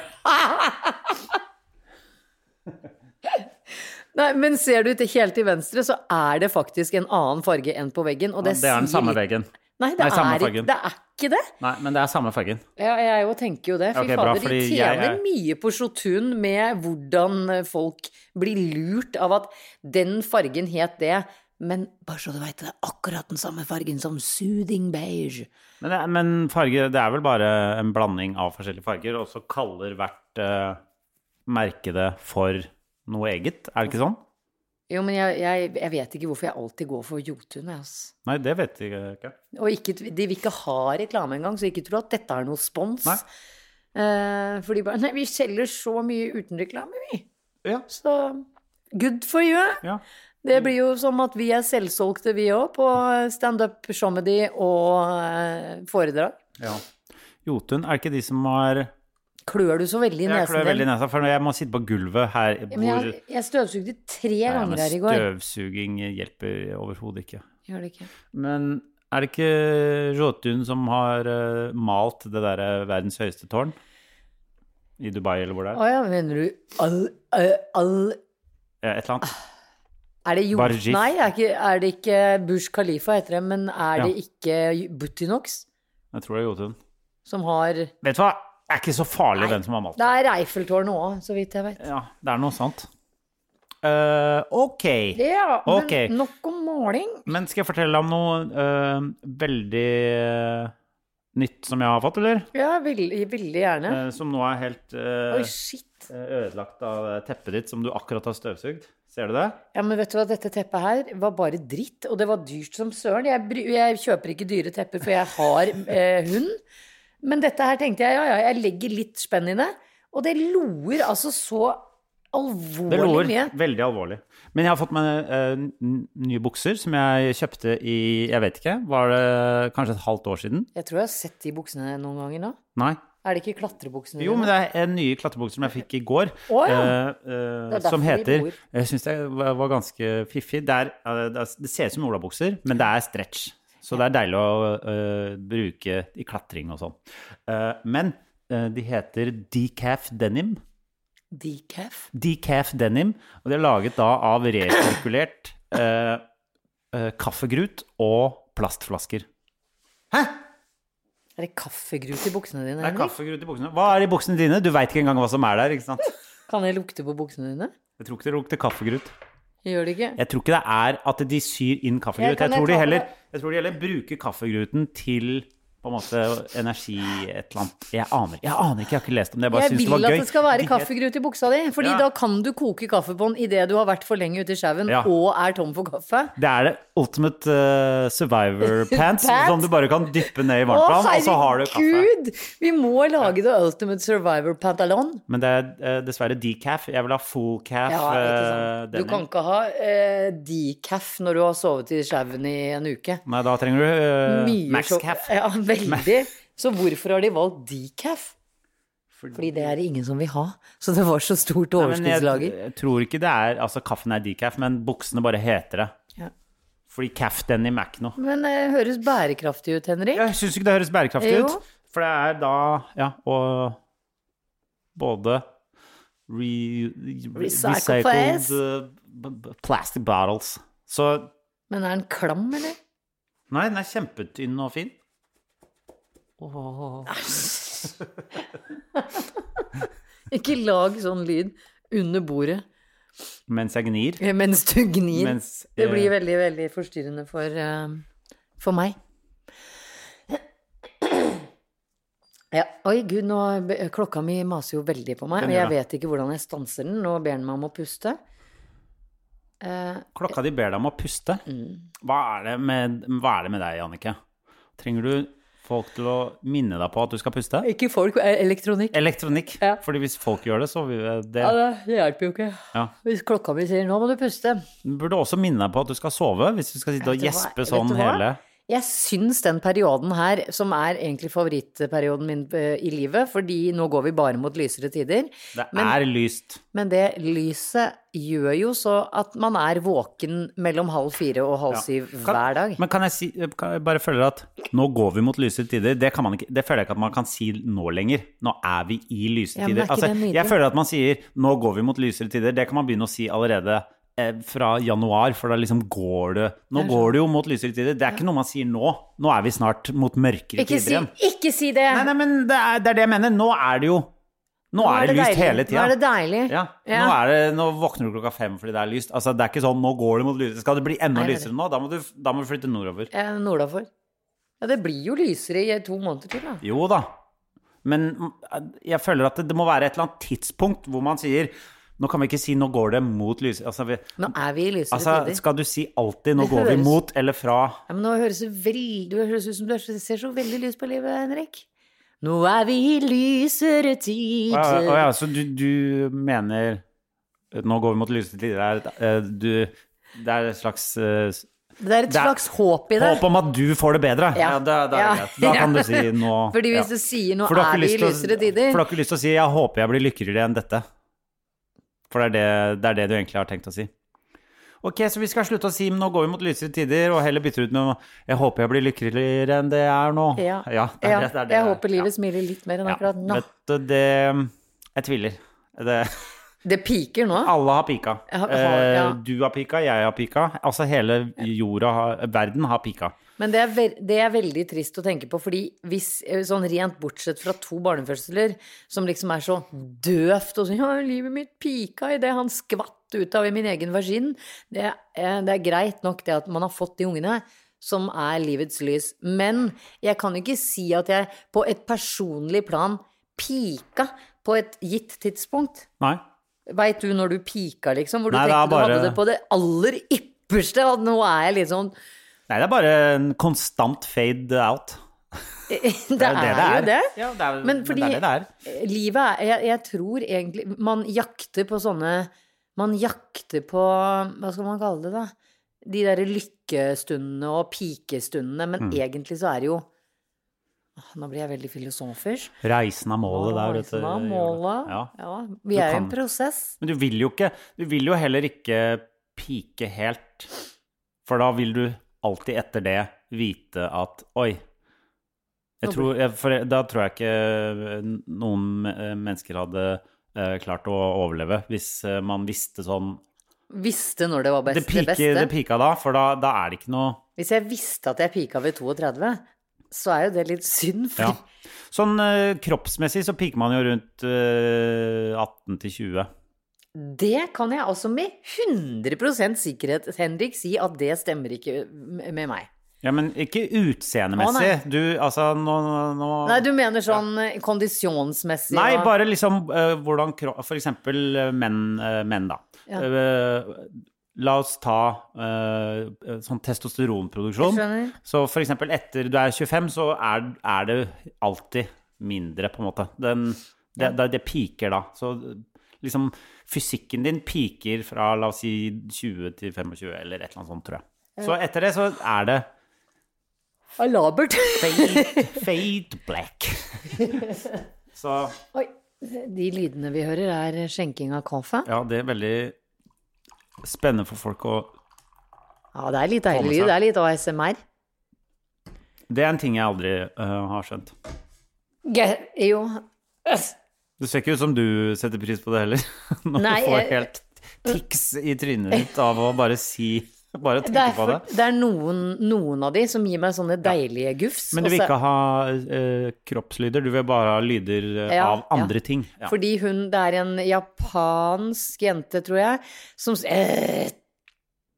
Speaker 2: Nei, men ser du til helt til venstre, så er det faktisk en annen farge enn på veggen. Og
Speaker 3: Det
Speaker 2: det,
Speaker 3: er den
Speaker 2: sier
Speaker 3: samme
Speaker 2: litt-
Speaker 3: veggen.
Speaker 2: Nei, det,
Speaker 3: Nei, samme
Speaker 2: er, ikke-
Speaker 3: fargen.
Speaker 2: det er ikke det.
Speaker 3: Nei, men det er samme fargen.
Speaker 2: Ja, jeg jo tenker jo det. Fy
Speaker 3: Ok, bra,
Speaker 2: fader, de
Speaker 3: fordi jeg
Speaker 2: tjener
Speaker 3: er-
Speaker 2: mye på Jotun med hvordan eh, folk blir lurt av at den fargen het det, men bare så du veit, det er akkurat den samme fargen som soothing beige.
Speaker 3: Men, det, er- men farge, det er vel bare en blanding av forskjellige farger, og så kaller hvert eh, merke det for noe eget, er det ikke sånn?
Speaker 2: Jo, men jeg, jeg, jeg vet ikke hvorfor jeg alltid går for Jotun. jeg, ass.
Speaker 3: Nei, det vet jeg ikke.
Speaker 2: Og ikke, de vil ikke ha reklame engang, så ikke tro at dette er noe spons.
Speaker 3: Nei.
Speaker 2: Eh, for de bare Nei, vi selger så mye uten reklame, vi.
Speaker 3: Ja.
Speaker 2: Så good for you.
Speaker 3: ja.
Speaker 2: Det
Speaker 3: Mm.
Speaker 2: blir jo som at vi er selvsolgte, vi òg, på standup comedy og eh, foredrag.
Speaker 3: ja. Jotun, er ikke de som har
Speaker 2: Klør du så veldig i
Speaker 3: Jeg
Speaker 2: nesen
Speaker 3: klør veldig i
Speaker 2: din?
Speaker 3: nesa, for jeg må sitte på gulvet her
Speaker 2: Ja, Men
Speaker 3: hvor
Speaker 2: jeg, jeg støvsugde tre
Speaker 3: Nei, ja, men
Speaker 2: ganger her i går.
Speaker 3: Støvsuging hjelper overhodet ikke.
Speaker 2: Gjør det ikke?
Speaker 3: Men er det ikke Jotun som har eh, malt det derre verdens høyeste tårn? I Dubai, eller hvor det er?
Speaker 2: Å ja, mener du all, all, all
Speaker 3: Ja, Et eller annet.
Speaker 2: Er det Jot...
Speaker 3: Barjif.
Speaker 2: Nei, er, ikke, er det ikke Bush Khalifa heter det, men er det ikke Butinox
Speaker 3: Jeg tror det er Jotun.
Speaker 2: som har Det
Speaker 3: Vet du hva? Det er ikke så farlig hvem som har malt det.
Speaker 2: er Eiffeltårnet òg, så vidt jeg vet.
Speaker 3: Ja, det er noe sant. Eh, ok.
Speaker 2: Ja, men
Speaker 3: Ok.
Speaker 2: nok om måling.
Speaker 3: Men skal jeg fortelle om noe eh, veldig eh, nytt som jeg har fått, eller?
Speaker 2: Ja, veldig, veldig gjerne.
Speaker 3: Eh, som nå er helt eh,
Speaker 2: Oi, shit.
Speaker 3: eh, ødelagt av teppet ditt som du akkurat har støvsugd. Ser du det?
Speaker 2: Ja, men vet du hva, dette teppet her var bare dritt, og det var dyrt som søren. Jeg, bry- jeg kjøper ikke dyre tepper, for jeg har eh, hund. Men dette her tenkte jeg, ja, ja, jeg legger litt spenn i det. Og det loer altså så
Speaker 3: Det
Speaker 2: alvorlig
Speaker 3: loer.
Speaker 2: mye.
Speaker 3: Veldig alvorlig. Men jeg har fått meg eh, n- nye bukser som jeg kjøpte i Jeg vet ikke, var det kanskje et halvt år siden?
Speaker 2: Jeg tror jeg har sett de buksene noen ganger nå.
Speaker 3: Nei.
Speaker 2: Er det ikke klatrebuksene?
Speaker 3: Jo, men det er en nye klattebukser som jeg fikk i går,
Speaker 2: Å,
Speaker 3: eh, eh,
Speaker 2: Det er derfor
Speaker 3: som
Speaker 2: vi
Speaker 3: heter
Speaker 2: bor.
Speaker 3: Jeg syns det var var ganske fiffig. Det, er, eh, det er- det ser ut som olabukser, men det er stretch. Så det er deilig å eh, bruke i klatring og sånn. Eh, men eh, de heter decaf denim.
Speaker 2: Decaf?
Speaker 3: Decaf denim, og de er laget da av resirkulert eh, eh, kaffegrut og plastflasker.
Speaker 2: Er det kaffegrut i buksene dine?
Speaker 3: Det er
Speaker 2: Henrik?
Speaker 3: kaffegrut i buksene. Hva er i buksene dine? Du veit ikke engang hva som er der, ikke sant?
Speaker 2: Kan jeg lukte på buksene dine?
Speaker 3: Jeg tror ikke det lukter kaffegrut.
Speaker 2: Jeg gjør det ikke.
Speaker 3: Jeg tror ikke det er at de syr inn
Speaker 2: Jeg
Speaker 3: kaffegrut.
Speaker 2: kan
Speaker 3: Jeg tror, de
Speaker 2: ta
Speaker 3: heller,
Speaker 2: det.
Speaker 3: jeg tror de heller bruker kaffegruten til på en måte energi et eller annet. Jeg aner, jeg aner ikke, jeg har ikke lest om det. Jeg bare
Speaker 2: Jeg
Speaker 3: syns det
Speaker 2: vil
Speaker 3: var
Speaker 2: at
Speaker 3: gøy.
Speaker 2: det skal være
Speaker 3: De het-
Speaker 2: kaffegrut i buksa di, fordi
Speaker 3: Ja.
Speaker 2: da kan du koke kaffe på den idet du har vært for lenge ute i skauen
Speaker 3: Ja.
Speaker 2: og er tom for kaffe.
Speaker 3: Det er det ultimate eh, survivor pants,
Speaker 2: Pants?
Speaker 3: som du bare kan dyppe ned i varmtvann, og så har du kaffe.
Speaker 2: herregud! Vi må lage The Ultimate Survivor Pantalon.
Speaker 3: Men det er eh, dessverre decaf. Jeg vil ha full calf eh,
Speaker 2: Ja, ikke sant. Du
Speaker 3: denim.
Speaker 2: kan ikke ha eh, decaf når du har sovet i skauen i en uke.
Speaker 3: Nei, da trenger du uh,
Speaker 2: Mye eh,
Speaker 3: max
Speaker 2: så-
Speaker 3: calf.
Speaker 2: Ja, veldig. Så hvorfor har de valgt decaf? Fordi det er det ingen som vil ha. Så det var så stort
Speaker 3: Nei, men jeg,
Speaker 2: overskuddslager.
Speaker 3: jeg tror ikke det er Altså, kaffen er decaf, men buksene bare heter det.
Speaker 2: Ja.
Speaker 3: Fordi calf denim er ikke noe.
Speaker 2: Men det høres bærekraftig ut, Henrik.
Speaker 3: Jeg syns ikke det høres bærekraftig
Speaker 2: Jo.
Speaker 3: ut. For det er da Ja, og både re, re,
Speaker 2: Recycle
Speaker 3: recycled
Speaker 2: plast.
Speaker 3: eh, b- b- plastic bottles. Så
Speaker 2: Men er den klam, eller?
Speaker 3: Nei, den er kjempetynn og fin.
Speaker 2: Ikke lag sånn lyd under bordet
Speaker 3: Mens jeg gnir.
Speaker 2: eh, mens du gnir.
Speaker 3: Mens,
Speaker 2: det blir
Speaker 3: eh,
Speaker 2: veldig, veldig forstyrrende for, eh, for meg. Ja. Oi, gud, nå, eh, klokka mi maser jo veldig på meg, og
Speaker 3: Den gjør
Speaker 2: jeg
Speaker 3: det.
Speaker 2: vet ikke hvordan jeg stanser den. Nå ber den meg om å puste. Eh,
Speaker 3: Klokka di ber deg om å puste.
Speaker 2: Mm.
Speaker 3: Hva er det med, hva er det med deg, Jannicke? Trenger du folk til å minne deg på at du skal puste?
Speaker 2: ikke folk, eh, elektronikk.
Speaker 3: Elektronikk.
Speaker 2: Ja.
Speaker 3: Fordi hvis folk gjør det, så vil det
Speaker 2: Ja, det det hjelper jo ikke.
Speaker 3: Ja.
Speaker 2: Hvis klokka mi sier 'nå må du puste',
Speaker 3: Du burde også minne deg på at du skal sove, hvis du skal sitte og
Speaker 2: Vet du hva?
Speaker 3: gjespe
Speaker 2: Vet
Speaker 3: sånn
Speaker 2: du hva?
Speaker 3: hele
Speaker 2: Jeg syns den perioden her, som er egentlig favorittperioden min eh, i livet, fordi nå går vi bare mot lysere tider,
Speaker 3: Det
Speaker 2: Men-
Speaker 3: er lyst.
Speaker 2: men det lyset gjør jo så at man er våken mellom halv fire og halv
Speaker 3: Ja.
Speaker 2: syv
Speaker 3: Kan-
Speaker 2: hver dag.
Speaker 3: Men kan jeg, si, kan jeg bare føle at nå går vi mot lysere tider? Det, kan man ikke, det føler jeg ikke at man kan si nå lenger. Nå er vi i lysere
Speaker 2: Ja, men
Speaker 3: tider. Altså,
Speaker 2: er ikke det nydelig?
Speaker 3: jeg føler at man sier nå går vi mot lysere tider. Det kan man begynne å si allerede eh, fra januar, for da liksom går det Nå går det jo mot lysere tider. Det er ikke noe man sier nå. Nå er vi snart mot mørkere
Speaker 2: Ikke
Speaker 3: tider
Speaker 2: si,
Speaker 3: igjen.
Speaker 2: ikke si det!
Speaker 3: Nei, nei, men det er, det er det jeg mener. Nå er det jo Nå, er det, lyst
Speaker 2: deilig.
Speaker 3: hele tida.
Speaker 2: Nå er det deilig.
Speaker 3: Ja.
Speaker 2: Ja.
Speaker 3: Nå, er det, nå våkner du klokka fem fordi det er lyst. Altså, det er ikke sånn nå går det mot lyset. Skal det bli enda
Speaker 2: Nei, det er
Speaker 3: lysere nå, da må, du, da må du flytte nordover.
Speaker 2: Eh, Nordafor. Ja, det blir jo lysere i to måneder til, da.
Speaker 3: Jo da. Men mm, jeg føler at det, det må være et eller annet tidspunkt hvor man sier Nå kan vi ikke si 'nå går det mot lys'. Altså, vi,
Speaker 2: Nå er vi i lysere
Speaker 3: altså,
Speaker 2: tider.
Speaker 3: skal du si alltid 'nå
Speaker 2: Det
Speaker 3: går vi
Speaker 2: høres-
Speaker 3: mot' eller 'fra'?
Speaker 2: Ja, men nå høres det veldig, du høres ut som du er så- ser så veldig lys på livet, Henrik. Nå er vi i lysere
Speaker 3: Å ja,
Speaker 2: tider.
Speaker 3: å ja, så du, du mener eh, 'nå går vi mot lyse tider' er, et, eh, du, det er et slags eh,
Speaker 2: Det er et
Speaker 3: Det er-
Speaker 2: slags håp i det.
Speaker 3: håp om at du får det bedre.
Speaker 2: Ja.
Speaker 3: da, da, er det
Speaker 2: Ja.
Speaker 3: greit. da kan du si 'nå
Speaker 2: Fordi hvis
Speaker 3: ja.
Speaker 2: du sier nå
Speaker 3: For du har
Speaker 2: er
Speaker 3: ikke
Speaker 2: vi i
Speaker 3: lyst til å-
Speaker 2: lysere tider
Speaker 3: For du har ikke lyst til å si 'jeg håper jeg blir lykkeligere enn dette'. For det er det, det er det du egentlig har tenkt å si. Ok, så vi skal slutte å si 'nå går vi mot lysere tider', og heller bytte ut med 'jeg håper jeg blir lykkeligere enn det jeg er nå'.
Speaker 2: Ja.
Speaker 3: det er
Speaker 2: Ja,
Speaker 3: det, det er det
Speaker 2: Jeg
Speaker 3: det er.
Speaker 2: håper livet smiler litt mer enn
Speaker 3: ja.
Speaker 2: akkurat nå.
Speaker 3: Ja. Vet du, det Jeg tviler. Det,
Speaker 2: Det piker nå.
Speaker 3: alle har pika.
Speaker 2: Jeg har-
Speaker 3: Eh,
Speaker 2: ja.
Speaker 3: Du har pika, jeg har pika. Altså hele jorda, har, verden, har pika.
Speaker 2: Men det er, ve det er veldig trist å tenke på, fordi hvis eh, sånn rent bortsett fra to barnefødsler som liksom er så døvt og sånn Ja, livet mitt pika i det han skvatt ut av i min egen vagin. Det, er- det er greit nok det at man har fått de ungene. Som er livets lys. Men jeg kan jo ikke si at jeg på et personlig plan pika på et gitt tidspunkt.
Speaker 3: Nei.
Speaker 2: Veit du når du pika, liksom? Hvor du
Speaker 3: Nei, det er
Speaker 2: tenkte du
Speaker 3: bare-
Speaker 2: hadde det på det aller ypperste, og nå er jeg litt sånn
Speaker 3: Nei, det er bare en konstant fade out.
Speaker 2: Det
Speaker 3: Det
Speaker 2: er
Speaker 3: er
Speaker 2: jo
Speaker 3: jo det det
Speaker 2: det.
Speaker 3: er. Ja, det er-
Speaker 2: Men fordi
Speaker 3: det er det det er.
Speaker 2: eh, livet er jeg, jeg tror egentlig Man jakter på sånne Man jakter på Hva skal man kalle det, da? De derre lykkestundene og pikestundene, men
Speaker 3: Mm.
Speaker 2: egentlig så er det jo Åh, Nå blir jeg veldig filosofisk.
Speaker 3: Reisen er målet der. vet du.
Speaker 2: Reisen av målet.
Speaker 3: Ja.
Speaker 2: Ja, vi er jo i en
Speaker 3: kan-
Speaker 2: prosess.
Speaker 3: Men du vil jo ikke Du vil jo heller ikke pike helt. For da vil du alltid etter det vite at Oi. Jeg
Speaker 2: Nå
Speaker 3: tror, jeg, for jeg- da tror jeg ikke noen eh, mennesker hadde eh, klart å overleve hvis eh, man visste sånn
Speaker 2: Visste når det var best,
Speaker 3: Det,
Speaker 2: det,
Speaker 3: piker,
Speaker 2: beste.
Speaker 3: det pika da, for da, da er det ikke noe
Speaker 2: Hvis jeg visste at jeg pika ved 32, så er jo det litt synd. For
Speaker 3: Ja. Sånn eh, kroppsmessig så piker man jo rundt eh, 18 til 20.
Speaker 2: det kan jeg altså med 100 sikkerhet, Henrik, si at det stemmer ikke med meg.
Speaker 3: Ja, men ikke
Speaker 2: Å, nei.
Speaker 3: utseendemessig. Du, altså, nå, nå
Speaker 2: Nei, du mener sånn eh, kondisjonsmessig
Speaker 3: Nei,
Speaker 2: og-
Speaker 3: bare liksom eh, hvordan kropp For eksempel eh, menn, eh, menn da.
Speaker 2: Ja.
Speaker 3: Eh, la oss ta eh, sånn testosteronproduksjon.
Speaker 2: Jeg skjønner.
Speaker 3: Så for eksempel etter du er 25, så er, er det alltid mindre, på en måte. Den, det, det, det piker da. Så liksom fysikken din piker fra la oss si 20 til 25, eller et eller annet sånt, tror jeg. Så etter det så er det
Speaker 2: Alabert.
Speaker 3: fade, fade black. så
Speaker 2: Oi. De lydene vi hører, er skjenking av kaffe.
Speaker 3: Ja, det er veldig spennende for folk å
Speaker 2: Ja, det er litt deilig
Speaker 3: med
Speaker 2: lyd.
Speaker 3: seg.
Speaker 2: Det er litt ASMR.
Speaker 3: Det er en ting jeg aldri eh, har skjønt.
Speaker 2: Ge- Jo.
Speaker 3: Det ser ikke ut som du setter pris på det heller. Når
Speaker 2: Nei,
Speaker 3: du får
Speaker 2: jeg-
Speaker 3: helt tics i trynet ditt av å bare si Bare
Speaker 2: Det
Speaker 3: tenke
Speaker 2: er,
Speaker 3: på
Speaker 2: for,
Speaker 3: det.
Speaker 2: det er noen, noen av de som gir meg sånne deilige gufs.
Speaker 3: Men du
Speaker 2: og
Speaker 3: vil
Speaker 2: så-
Speaker 3: ikke ha eh, kroppslyder, du vil bare ha lyder eh,
Speaker 2: Ja,
Speaker 3: av andre ting. Ja.
Speaker 2: Fordi hun, det er en japansk jente, tror jeg, som, s- eh,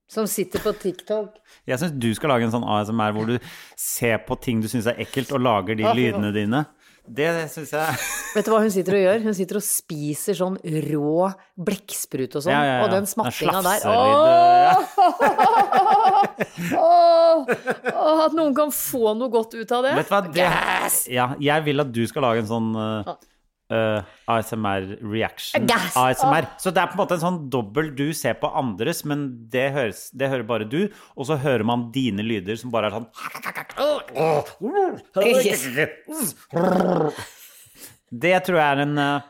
Speaker 2: som sitter på TikTok.
Speaker 3: Jeg syns du skal lage en sånn ASMR hvor du ser på ting du syns er ekkelt, og lager de
Speaker 2: Å, fy faen.
Speaker 3: lydene dine. Det syns jeg
Speaker 2: Vet du hva hun sitter og gjør? Hun sitter og spiser sånn rå blekksprut og sånn.
Speaker 3: Ja, ja, ja.
Speaker 2: Og den
Speaker 3: Det er
Speaker 2: smakkinga der.
Speaker 3: slafselyd,
Speaker 2: Åh! Åh! Åh, At noen kan få noe godt ut av det.
Speaker 3: Vet du hva, det, ja, jeg vil at du skal lage en sånn eh, eh, ASMR reaction.
Speaker 2: Gass.
Speaker 3: ASMR. Så det er på en måte en sånn dobbel du ser på andres, men det, høres, det hører bare du. Og så hører man dine lyder som bare er sånn Det tror jeg er en eh,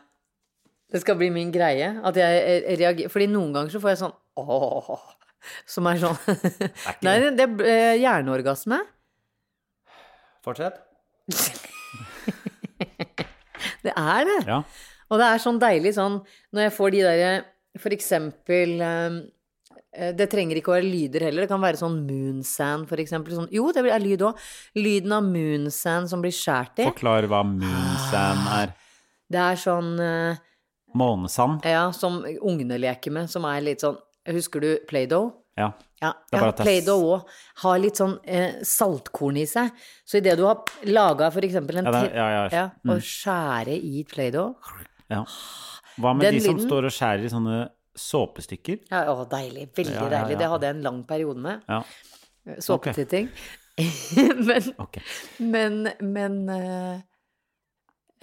Speaker 2: Det skal bli min greie. At jeg eh, reagerer Fordi noen ganger så får jeg sånn åh, som er sånn Nei, det er eh, hjerneorgasme.
Speaker 3: Fortsett.
Speaker 2: Det er det.
Speaker 3: Ja.
Speaker 2: Og det er sånn deilig sånn når jeg får de derre For eksempel eh, Det trenger ikke å være lyder heller. Det kan være sånn moonsand, for eksempel. Sånn, jo, det er lyd òg. Lyden av moonsand som blir skåret i.
Speaker 3: Forklar hva moonsand er.
Speaker 2: Det er sånn eh,
Speaker 3: Månesand.
Speaker 2: Ja, som ungene leker med, som er litt sånn Husker du Play-Doh?
Speaker 3: Ja.
Speaker 2: Ja,
Speaker 3: Det er
Speaker 2: ja
Speaker 3: bare at det er
Speaker 2: Play-Doh òg har litt sånn eh, saltkorn i seg. Så idet du har laga f.eks. en
Speaker 3: Ja, mm. det er-
Speaker 2: te-
Speaker 3: ja, ja.
Speaker 2: og skjære i Play-Doh
Speaker 3: ja. Hva med
Speaker 2: Den
Speaker 3: de som
Speaker 2: lyden-
Speaker 3: står og skjærer i sånne såpestykker?
Speaker 2: Ja, å, deilig. Veldig
Speaker 3: Ja, ja,
Speaker 2: deilig.
Speaker 3: ja.
Speaker 2: Det hadde jeg en lang periode med.
Speaker 3: Ja,
Speaker 2: eh, Såpetitting. men,
Speaker 3: ok.
Speaker 2: men, men eh,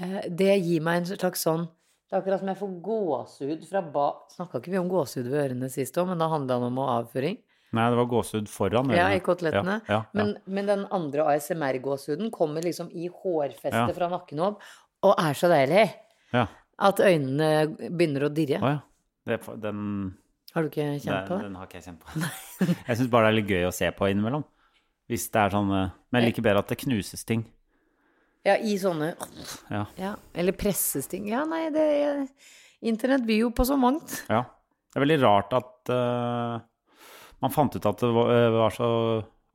Speaker 2: eh, det gir meg en slags sånn Det er akkurat som jeg får gåsehud fra ba... Snakka ikke vi om gåsehud ved ørene sist òg, men da handla det om å avføring.
Speaker 3: Nei, det var gåsehud foran.
Speaker 2: Ja, i
Speaker 3: eller?
Speaker 2: kotelettene.
Speaker 3: Ja, ja,
Speaker 2: Men, men den andre ASMR-gåsehuden kommer liksom i hårfestet
Speaker 3: Ja.
Speaker 2: fra nakken opp, og er så deilig
Speaker 3: ja.
Speaker 2: at øynene begynner å dirre.
Speaker 3: Å ja. Det, er for- den,
Speaker 2: Har du ikke kjent på det?
Speaker 3: den, den har ikke jeg kjent på. Jeg syns bare det er litt gøy å se på innimellom. Hvis det er sånn eh, Men jeg liker bedre at det knuses ting.
Speaker 2: Ja, i sånne
Speaker 3: Ja.
Speaker 2: ja, Eller pressesting. Ja, nei, det Internett byr jo på så mangt.
Speaker 3: ja. Det er veldig rart at eh, man fant ut at det var, eh, var så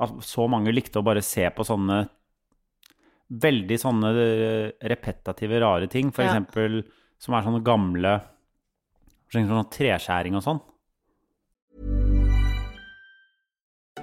Speaker 3: At så mange likte å bare se på sånne veldig sånne eh, repetitive, rare ting. For
Speaker 2: Ja.
Speaker 3: eksempel som er sånne gamle for eksempel Sånn treskjæring og sånn.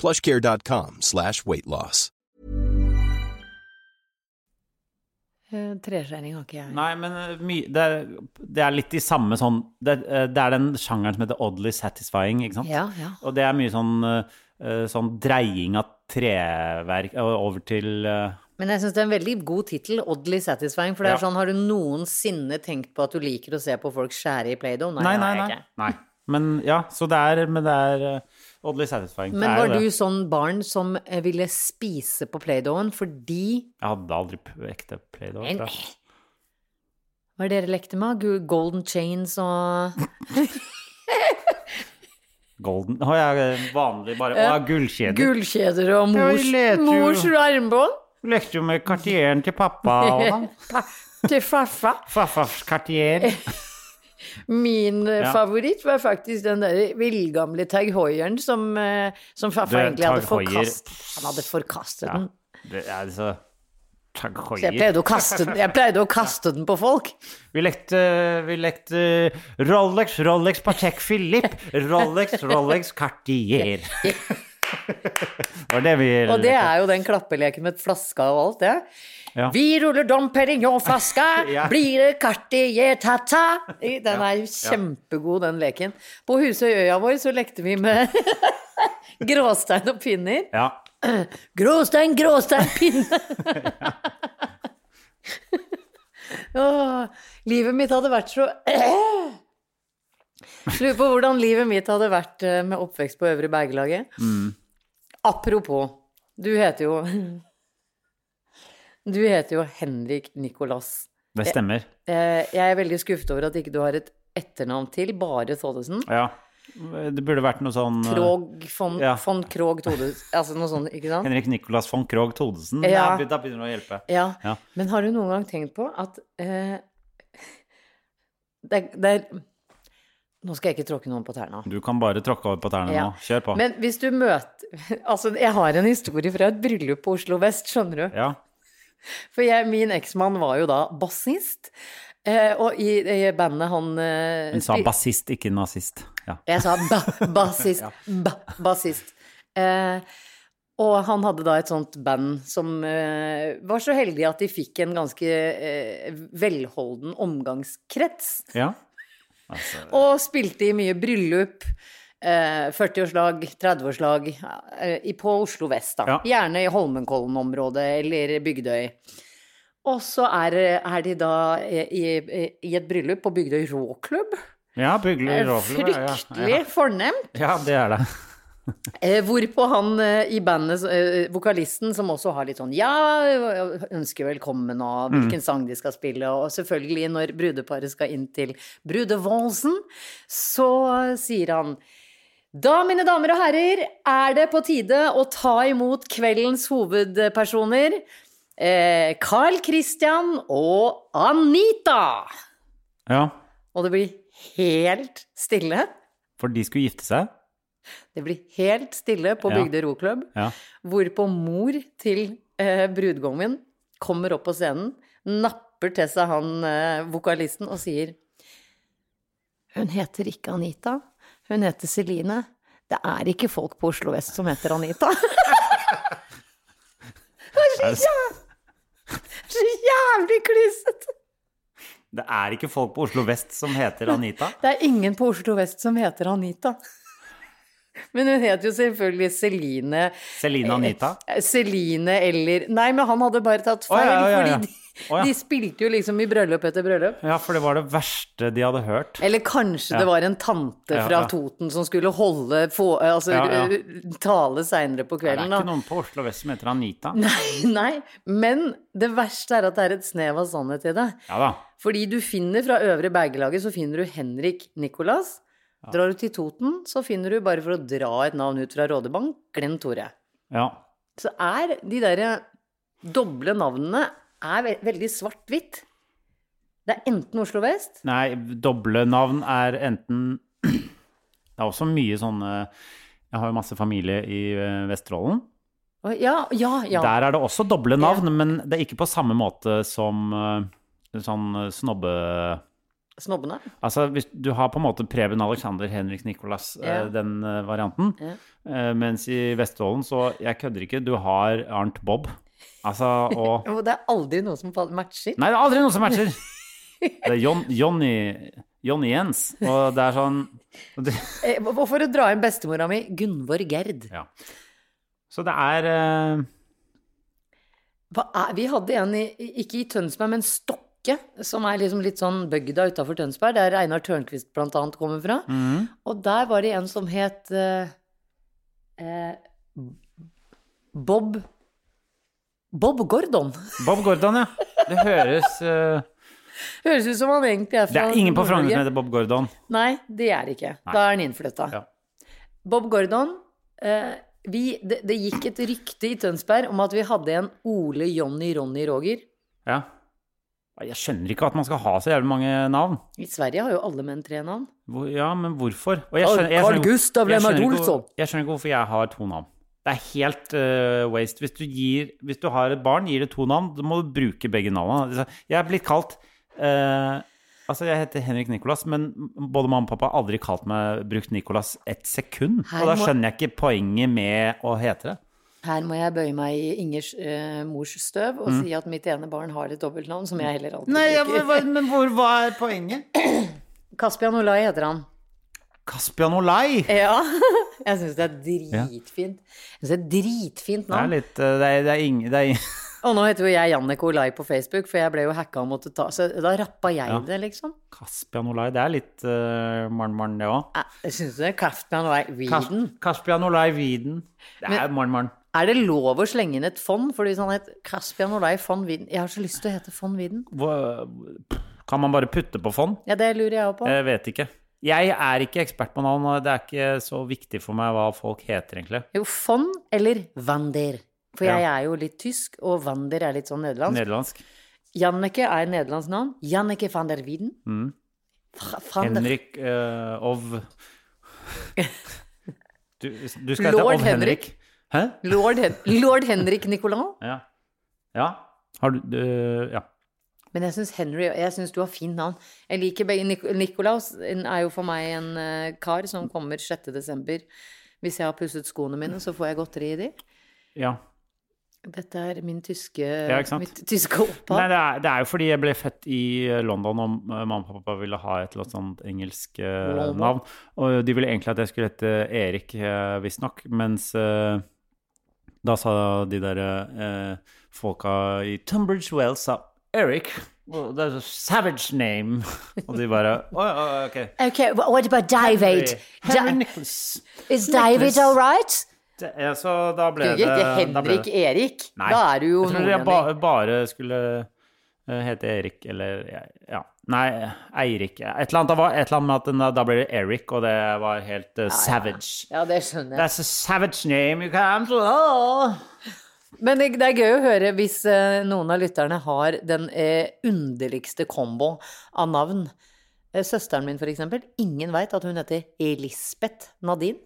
Speaker 5: plushcare.com slash weight loss.
Speaker 2: Eh, Treskjæring har ikke jeg.
Speaker 3: Nei, men eh, my, det, er, det er litt de samme sånn det, eh, det er den sjangeren som heter oddly satisfying, ikke sant?
Speaker 2: Ja, ja.
Speaker 3: Og det er mye sånn, eh, eh, sånn dreying av treverk eh, over til eh,
Speaker 2: Men jeg syns det er en veldig god tittel, 'Oddly Satisfying', for det er
Speaker 3: Ja.
Speaker 2: sånn Har du noensinne tenkt på at du liker å se på folk skjære i Play-Doh? Nei,
Speaker 3: Nei,
Speaker 2: det
Speaker 3: nei,
Speaker 2: har jeg
Speaker 3: nei.
Speaker 2: ikke.
Speaker 3: nei. Men ja, så det er, men det er eh, oddly satisfying.
Speaker 2: Men
Speaker 3: det er
Speaker 2: var
Speaker 3: jo
Speaker 2: du
Speaker 3: det.
Speaker 2: sånn barn som eh, ville spise på Play-Dohen fordi
Speaker 3: Jeg hadde aldri p- ekte play-doh.
Speaker 2: Men-
Speaker 3: tror jeg.
Speaker 2: Hva er det dere lekte med? Gu- Golden chains og
Speaker 3: Golden Å, jeg er vanlig bare
Speaker 2: Eh,
Speaker 3: Å, ja, gullkjeder.
Speaker 2: gullkjeder og mors,
Speaker 3: vi leter jo.
Speaker 2: mors armbånd?
Speaker 3: Lekte jo med kartieren til pappa og sånn.
Speaker 2: Til farfar.
Speaker 3: Farfars kartier.
Speaker 2: Min eh,
Speaker 3: Ja.
Speaker 2: favoritt var faktisk den der villgamle Tag Hoieren som, eh, som farfar
Speaker 3: Det-
Speaker 2: egentlig hadde
Speaker 3: Tag Heuer.
Speaker 2: forkastet. Han hadde forkastet
Speaker 3: Ja.
Speaker 2: den.
Speaker 3: Det er så
Speaker 2: Så jeg pleide, å kaste den. jeg pleide å kaste den på folk.
Speaker 3: Vi lekte, vi lekte Rolex, Rolex, Patek Philippe, Rolex, Rolex, Cartier. Det var det vi
Speaker 2: Og det er jo den klappeleken med flaska og alt det.
Speaker 3: Ja.
Speaker 2: Vi ruller Dom Perignon-flaska,
Speaker 3: Ja.
Speaker 2: blir det Cartier tata? Den er jo kjempegod, den leken. På Husøyøya vår så lekte vi med gråstein og pinner.
Speaker 3: Ja.
Speaker 2: Gråstein, gråstein, pinne! Åh, livet mitt hadde vært så Lurer på hvordan livet mitt hadde vært eh, med oppvekst på Øvre Bergelaget. Apropos, du heter jo Du heter jo Henrik Nicolas.
Speaker 3: Det stemmer.
Speaker 2: Eh, Jeg er veldig skuffet over at ikke du har et etternavn til, bare Thodesen.
Speaker 3: Ja. Det burde vært noe sånn eh,
Speaker 2: Krog von,
Speaker 3: Ja.
Speaker 2: von Krog Thodesen, altså noe sånt, ikke sant?
Speaker 3: Henrik Nicolas von Krogh Todesen.
Speaker 2: Ja.
Speaker 3: Da, da begynner det å hjelpe.
Speaker 2: Ja.
Speaker 3: Ja.
Speaker 2: Men har du noen gang tenkt på at eh, det, er- det er Nå skal jeg ikke tråkke noen på tærne.
Speaker 3: Du kan bare tråkke over på tærne
Speaker 2: Ja.
Speaker 3: nå. Kjør på.
Speaker 2: Men hvis du møter Altså, jeg har en historie fra et bryllup på Oslo vest, skjønner du.
Speaker 3: Ja.
Speaker 2: For jeg, min eksmann var jo da bassist. Eh, og i, i bandet han eh,
Speaker 3: Hun sa
Speaker 2: spil-
Speaker 3: bassist, ikke nazist. Ja.
Speaker 2: Jeg sa ba, bassist. Ba, bassist. Eh, og han hadde da et sånt band som eh, var så heldig at de fikk en ganske eh, velholden omgangskrets.
Speaker 3: ja.
Speaker 2: Og spilte i mye bryllup, eh, 40-årslag, 30-årslag eh, i- på Oslo vest, da.
Speaker 3: Ja.
Speaker 2: Gjerne i Holmenkollen-området eller Bygdøy. Og så er, er de da eh, i, i et bryllup på Bygdøy Råklubb.
Speaker 3: Ja, bygler
Speaker 2: Eh,
Speaker 3: råfugler. ja,
Speaker 2: Fryktelig
Speaker 3: Ja,
Speaker 2: fornemt.
Speaker 3: ja. ja, det er det.
Speaker 2: Eh, Hvorpå han eh, i bandet, eh, vokalisten, som også har litt sånn ja, ønsker velkommen og hvilken sang de skal spille, og selvfølgelig når brudeparet skal inn til brudevalsen, så eh, sier han da, mine damer og herrer, er det på tide å ta imot kveldens hovedpersoner, eh, Carl Christian og Anita.
Speaker 3: Ja,
Speaker 2: Og det blir helt stille.
Speaker 3: for de skulle gifte seg.
Speaker 2: Det blir helt stille på
Speaker 3: Ja.
Speaker 2: Bygdøy roklubb.
Speaker 3: Ja.
Speaker 2: Hvorpå mor til eh, brudgommen kommer opp på scenen, napper til seg han eh, vokalisten og sier Hun heter ikke Anita, hun heter Celine. Det er ikke folk på Oslo vest som heter Anita. Det
Speaker 3: Er det,
Speaker 2: er Så jævlig klysete!
Speaker 3: det er ikke folk på Oslo vest som heter Anita.
Speaker 2: Det er ingen på Oslo vest som heter Anita. Men hun heter jo selvfølgelig Celine
Speaker 3: Celine Anita.
Speaker 2: Eh, Celine eller Nei, men han hadde bare tatt
Speaker 3: Å,
Speaker 2: feil,
Speaker 3: ja, ja, ja.
Speaker 2: fordi de,
Speaker 3: Å, ja.
Speaker 2: de spilte jo liksom i bryllup etter bryllup.
Speaker 3: Ja, for det var det verste de hadde hørt.
Speaker 2: Eller kanskje det var en tante
Speaker 3: Ja,
Speaker 2: fra
Speaker 3: ja.
Speaker 2: Toten som skulle holde få, eh, altså,
Speaker 3: Ja, ja.
Speaker 2: eh, tale seinere på
Speaker 3: Det er
Speaker 2: kvelden.
Speaker 3: ikke
Speaker 2: da.
Speaker 3: noen på Oslo vest som heter Anita.
Speaker 2: Nei, men det verste er at det er et snev av sannhet i det.
Speaker 3: Ja da.
Speaker 2: Fordi du finner fra øvre bergelaget, så finner du Henrik Nicolas. Drar du til Toten, så finner du, bare for å dra et navn ut fra Rådebank, Glenn Tore.
Speaker 3: Ja.
Speaker 2: så er de der eh, doble navnene er ve veldig svart-hvitt. Det er enten Oslo vest
Speaker 3: Nei, doble navn er enten Det er også mye sånne Jeg har jo masse familie i eh, Vesterålen.
Speaker 2: Å, Ja, ja, ja.
Speaker 3: Der er det også doble navn, men det er ikke på samme måte som eh, sånn eh, snobbe...
Speaker 2: Snobbene.
Speaker 3: Altså, hvis du har på en måte Preben Alexander, Henrik Nicolas, eh,
Speaker 2: Ja.
Speaker 3: den eh, varianten. Eh, Mens i Vesterålen, så jeg kødder ikke, du har Arnt Bob. Altså, og
Speaker 2: Og det er aldri noe som fall- matcher.
Speaker 3: Nei, det er aldri noen som matcher! Det er Jon, Jonny, Jonny Jens, og det er sånn og det,
Speaker 2: Eh, Og for å dra inn bestemora mi, Gunvor Gerd.
Speaker 3: Ja. Så det er eh,
Speaker 2: Hva er, vi hadde en i, ikke i Tønsberg, men Stokke, som er liksom litt sånn bygda utafor Tønsberg, der Einar Tørnquist blant annet kommer fra. Og der var det en som het eh, eh, Bob Bob Gordon.
Speaker 3: Bob Gordon, ja. Det høres eh,
Speaker 2: Høres ut som han egentlig er
Speaker 3: Det
Speaker 2: fra
Speaker 3: er ingen på Frogner
Speaker 2: Nord-Norge.
Speaker 3: som heter Bob Gordon.
Speaker 2: Nei, det er det ikke. Da er han innflytta.
Speaker 3: Ja.
Speaker 2: Bob Gordon eh, vi, det, det gikk et rykte i Tønsberg om at vi hadde en Ole Jonny Ronny Roger.
Speaker 3: Ja. Jeg skjønner ikke at man skal ha så jævlig mange navn.
Speaker 2: I Sverige har jo alle menn tre navn.
Speaker 3: Hvor, ja, men hvorfor? Og
Speaker 2: Carl-
Speaker 3: jeg
Speaker 2: Carl
Speaker 3: skjønner ikke-
Speaker 2: Gustav
Speaker 3: jeg
Speaker 2: Lennart
Speaker 3: skjønner ikke hvor-
Speaker 2: Olsson.
Speaker 3: Jeg skjønner ikke hvorfor jeg har to navn. Det er helt eh, waste. Hvis du, gir, hvis du har et barn, gir det to navn, da må du bruke begge navnene. Altså, Jeg er blitt kalt eh, Altså, jeg heter Henrik Nicolas, men både mamma og pappa har aldri kalt meg brukt Nicolas ett sekund.
Speaker 2: Her
Speaker 3: og da
Speaker 2: må-
Speaker 3: skjønner jeg ikke poenget med å hete det.
Speaker 2: Her må jeg bøye meg i Ingers eh, mors støv
Speaker 3: Mm.
Speaker 2: og si at mitt ene barn har et dobbeltnavn som jeg heller aldri
Speaker 6: Nei, ja, men,
Speaker 2: bruker.
Speaker 6: hva- men hvor var poenget?
Speaker 2: Kaspian Olai heter han.
Speaker 3: Caspian Olai!
Speaker 2: Ja. Jeg syns det er dritfint. Jeg synes det er et dritfint
Speaker 3: Det
Speaker 2: navn.
Speaker 3: er litt eh, Det er, det er ingen det er, ing-
Speaker 2: Og nå heter jo jeg Jannik Olai på Facebook, for jeg ble jo hacka og måtte ta Så da rappa jeg
Speaker 3: Ja.
Speaker 2: det, liksom.
Speaker 3: Caspian Olai, det er litt uh, marn-marn, det òg.
Speaker 2: Eh, Jeg syns det er Kaftman Olai Weeden.
Speaker 3: Caspian Olai Wieden. Det er marn-marn.
Speaker 2: Er det lov å slenge inn et fond? Fordi hvis han het Kaspian Olai von Wieden Jeg har så lyst til å hete von Wieden.
Speaker 3: Hva- Kan man bare putte på fond?
Speaker 2: Ja, det lurer jeg òg på.
Speaker 3: Jeg vet ikke. Jeg er ikke ekspert på navn, og det er ikke så viktig for meg hva folk heter, egentlig.
Speaker 2: Jo, von eller Wander. For
Speaker 3: Ja.
Speaker 2: jeg er jo litt tysk, og Wander er litt sånn nederlandsk.
Speaker 3: Nederlandsk. Mm.
Speaker 2: Janneke er nederlandsk navn. Janneke van der Wieden. Fra- van der-
Speaker 3: Henrik eh, Ov du, du skal hete
Speaker 2: Lord
Speaker 3: Ov Henrik. Hæ?
Speaker 2: Lord, Hen Lord Henrik Nicolas.
Speaker 3: Ja. ja. Har du du- Ja.
Speaker 2: Men jeg syns Henry Jeg syns du har fint navn. Jeg liker begge. Nic- Nikolaus er jo for meg en eh, kar som kommer 6. desember. Hvis jeg har pusset skoene mine, så får jeg godteri i de.
Speaker 3: ja.
Speaker 2: Dette er min tyske,
Speaker 3: ikke sant?
Speaker 2: mitt tyske
Speaker 3: Nei,
Speaker 2: opphav.
Speaker 3: det er, det er jo fordi jeg ble født i eh, London, og eh, mamma og pappa ville ha et eller annet sånt engelsk eh,
Speaker 2: London.
Speaker 3: navn. Og de ville egentlig at jeg skulle hete Erik, eh, visstnok, mens eh, da sa de der eh, folka i Tunbridge Wells sa Erik. well, that's a savage name. Og de bare Å ja, ok.
Speaker 2: Okay, wh- what about David?
Speaker 3: Henry
Speaker 2: Da-
Speaker 3: Nicholas.
Speaker 2: is David all right?
Speaker 3: Det- Ja, så da ble
Speaker 2: Du
Speaker 3: det
Speaker 2: heter
Speaker 3: da ble
Speaker 2: Henrik
Speaker 3: det-
Speaker 2: Erik.
Speaker 3: Nei.
Speaker 2: Da er du jo
Speaker 3: Jeg tror jeg ba, bare skulle eh, hete Erik, eller ja. Nei, Eirik. Et eller annet, da var, et eller annet med at den, da- da ble det Erik, og det var helt eh, savage.
Speaker 2: Ja, det skjønner jeg.
Speaker 3: That's a savage name you can oh.
Speaker 2: Men det, det er gøy å høre hvis eh, noen av lytterne har den eh, underligste kombo av navn. Eh, søsteren min, for eksempel. Ingen veit at hun heter Elisabeth Nadine.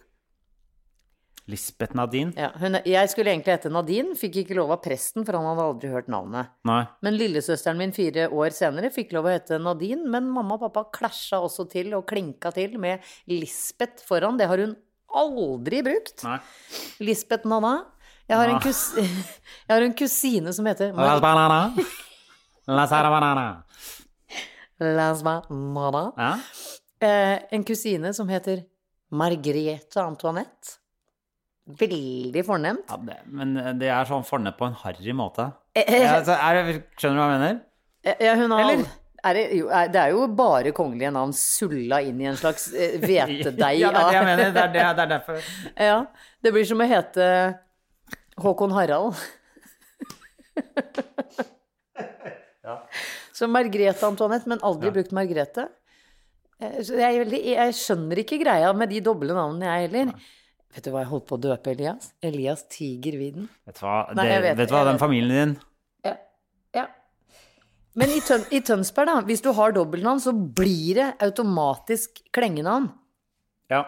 Speaker 3: Lisbeth Nadine?
Speaker 2: Ja, hun, jeg skulle egentlig hete Nadine, fikk ikke lov av presten, for han hadde aldri hørt navnet.
Speaker 3: Nei.
Speaker 2: Men lillesøsteren min fire år senere fikk lov å hete Nadine, men mamma og pappa klasja også til og klinka til med Lisbeth foran. Det har hun aldri brukt.
Speaker 3: Nei.
Speaker 2: Lisbeth Nanna. Jeg har, en kus jeg har en kusine som heter
Speaker 3: Las
Speaker 2: Mar-
Speaker 3: banana. Las ara banana.
Speaker 2: Lasma Nanna.
Speaker 3: Ja?
Speaker 2: Eh, en kusine som heter Margrethe Antoinette. Veldig fornemt.
Speaker 3: Ja, det, men det er sånn fornett på en harry måte. Ja, altså, er, det- skjønner du hva jeg mener?
Speaker 2: Eh, Ja, hun har
Speaker 3: Eller?
Speaker 2: Er det, jo, er, det er jo bare kongelige navn sulla inn i en slags eh, hvetedeig
Speaker 3: Ja, det er det jeg
Speaker 2: av-
Speaker 3: mener. Det er, det, det er derfor.
Speaker 2: Ja, det blir som å hete Håkon Harald. Så Margrethe Antoinette, men aldri brukt Margrethe. Eh, så Jeg, er veldig, jeg skjønner ikke greia med de doble navnene, jeg heller. Vet du hva jeg holdt på å døpe Elias? Elias Tigerviden.
Speaker 3: Vet du hva,
Speaker 2: Nei,
Speaker 3: det,
Speaker 2: jeg vet-
Speaker 3: vet, du hva
Speaker 2: jeg
Speaker 3: den
Speaker 2: vet.
Speaker 3: familien din
Speaker 2: Ja. ja. Men i, tøn, i Tønsberg, da, hvis du har dobbeltnavn, så blir det automatisk klengenavn.
Speaker 3: Ja.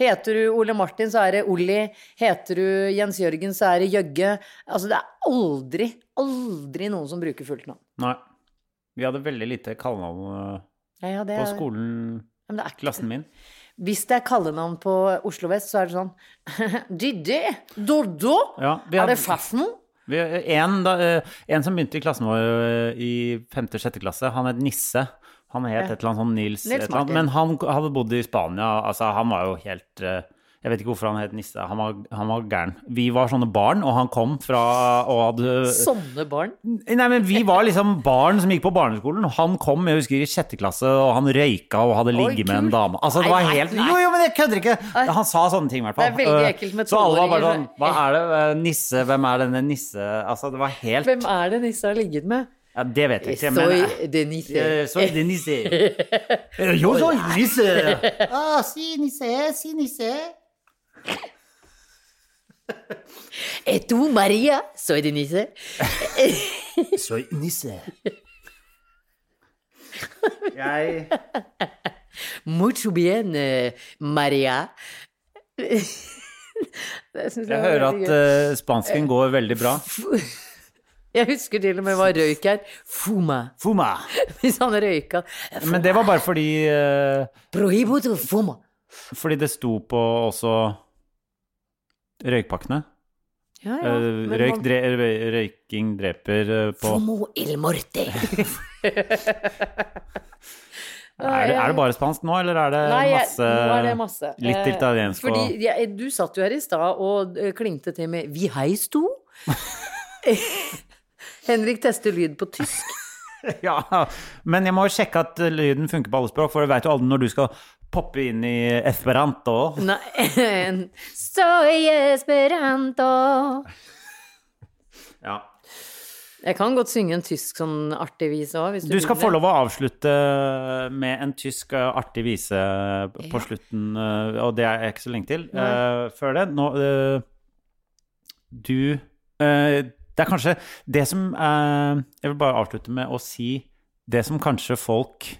Speaker 2: Heter du Ole Martin, så er det Olli. Heter du Jens Jørgen, så er det Jøgge. Altså, det er aldri, aldri noen som bruker fullt navn.
Speaker 3: Nei. Vi hadde veldig lite kallenavn eh,
Speaker 2: Ja, ja, det
Speaker 3: på
Speaker 2: er-
Speaker 3: skolen,
Speaker 2: Ja, men det er ikke-
Speaker 3: klassen min.
Speaker 2: Hvis det er kallenavn på Oslo vest, så er det sånn Didi, Doddo,
Speaker 3: Ja, vi
Speaker 2: er
Speaker 3: hadde-
Speaker 2: det Faffmo?
Speaker 3: Vi, en, da, eh, en som begynte i klassen vår eh, i 5.-6. klasse, han het Nisse. Han het et eller annet sånn Nils,
Speaker 2: Nils
Speaker 3: et eller annet,
Speaker 2: Martin.
Speaker 3: Men han k- hadde bodd i Spania. Altså, han var jo helt eh, Jeg vet ikke hvorfor han het Nisse. Han var, han var gæren. Vi var sånne barn, og han kom fra og hadde
Speaker 2: Sånne barn.
Speaker 3: Nei, men vi var liksom barn som gikk på barneskolen. og Han kom, jeg husker, i sjette klasse, og han røyka og hadde ligget med en
Speaker 2: kult.
Speaker 3: dame. Altså, det var
Speaker 2: Nei, nei,
Speaker 3: helt
Speaker 2: nei.
Speaker 3: Jo, jo, men jeg kødder ikke! Han sa sånne ting, i hvert fall.
Speaker 2: Det er veldig
Speaker 3: Eh,
Speaker 2: ekkelt med
Speaker 3: Så alle var bare sånn
Speaker 2: tolvåringer.
Speaker 3: Hva er det? eh, Nisse? Hvem er denne nisse? Altså, det var helt
Speaker 2: Hvem er det Nisse har ligget med?
Speaker 3: Ja, det vet jeg ikke, men
Speaker 2: Soy de Nisse.
Speaker 3: Eh, Soy de nisse. Eh, Yo soy nisse!
Speaker 6: Å, si nisse, si nisse.
Speaker 2: Er du Maria? Soy de Nisse.
Speaker 3: Soy nisse. Jeg
Speaker 2: Mucho bien, eh, Maria. Jeg, synes det
Speaker 3: Jeg
Speaker 2: var
Speaker 3: hører
Speaker 2: veldig
Speaker 3: at
Speaker 2: gøy.
Speaker 3: eh, spansken går veldig bra.
Speaker 2: Jeg husker til og med hva røyk er. Fuma.
Speaker 3: Fuma.
Speaker 2: Hvis han røyka
Speaker 3: Men det var bare fordi eh,
Speaker 2: Prohibido fuma.
Speaker 3: Fordi det sto på også røykpakkene.
Speaker 2: Ja, ja.
Speaker 3: Eh,
Speaker 2: men
Speaker 3: Røyk,
Speaker 2: man-
Speaker 3: dre, røy- røyking dreper eh, på
Speaker 2: Fumo il morte.
Speaker 3: er det, er det bare spansk nå, eller er det
Speaker 2: Nei, jeg-
Speaker 3: masse,
Speaker 2: nå er det masse.
Speaker 3: Litt
Speaker 2: Eh,
Speaker 3: italiensk og
Speaker 2: Fordi jeg, du satt jo her i stad og eh, klingte til med 'vi heis to'. Henrik tester lyd på tysk.
Speaker 3: Ja, men jeg må jo sjekke at lyden funker på alle språk, for du veit jo aldri når du skal poppe inn i esperanto.
Speaker 2: Mm. Nei Soy esperanto.
Speaker 3: Ja.
Speaker 2: Jeg kan godt synge en tysk sånn artig vise òg, hvis du,
Speaker 3: Du skal
Speaker 2: vil
Speaker 3: få
Speaker 2: det.
Speaker 3: lov å avslutte med en tysk eh, artig vise på slutten, eh, og det er ikke så lenge til. Eh, før det, nå eh, Du eh, Det er kanskje det som eh, Jeg vil bare avslutte med å si det som kanskje folk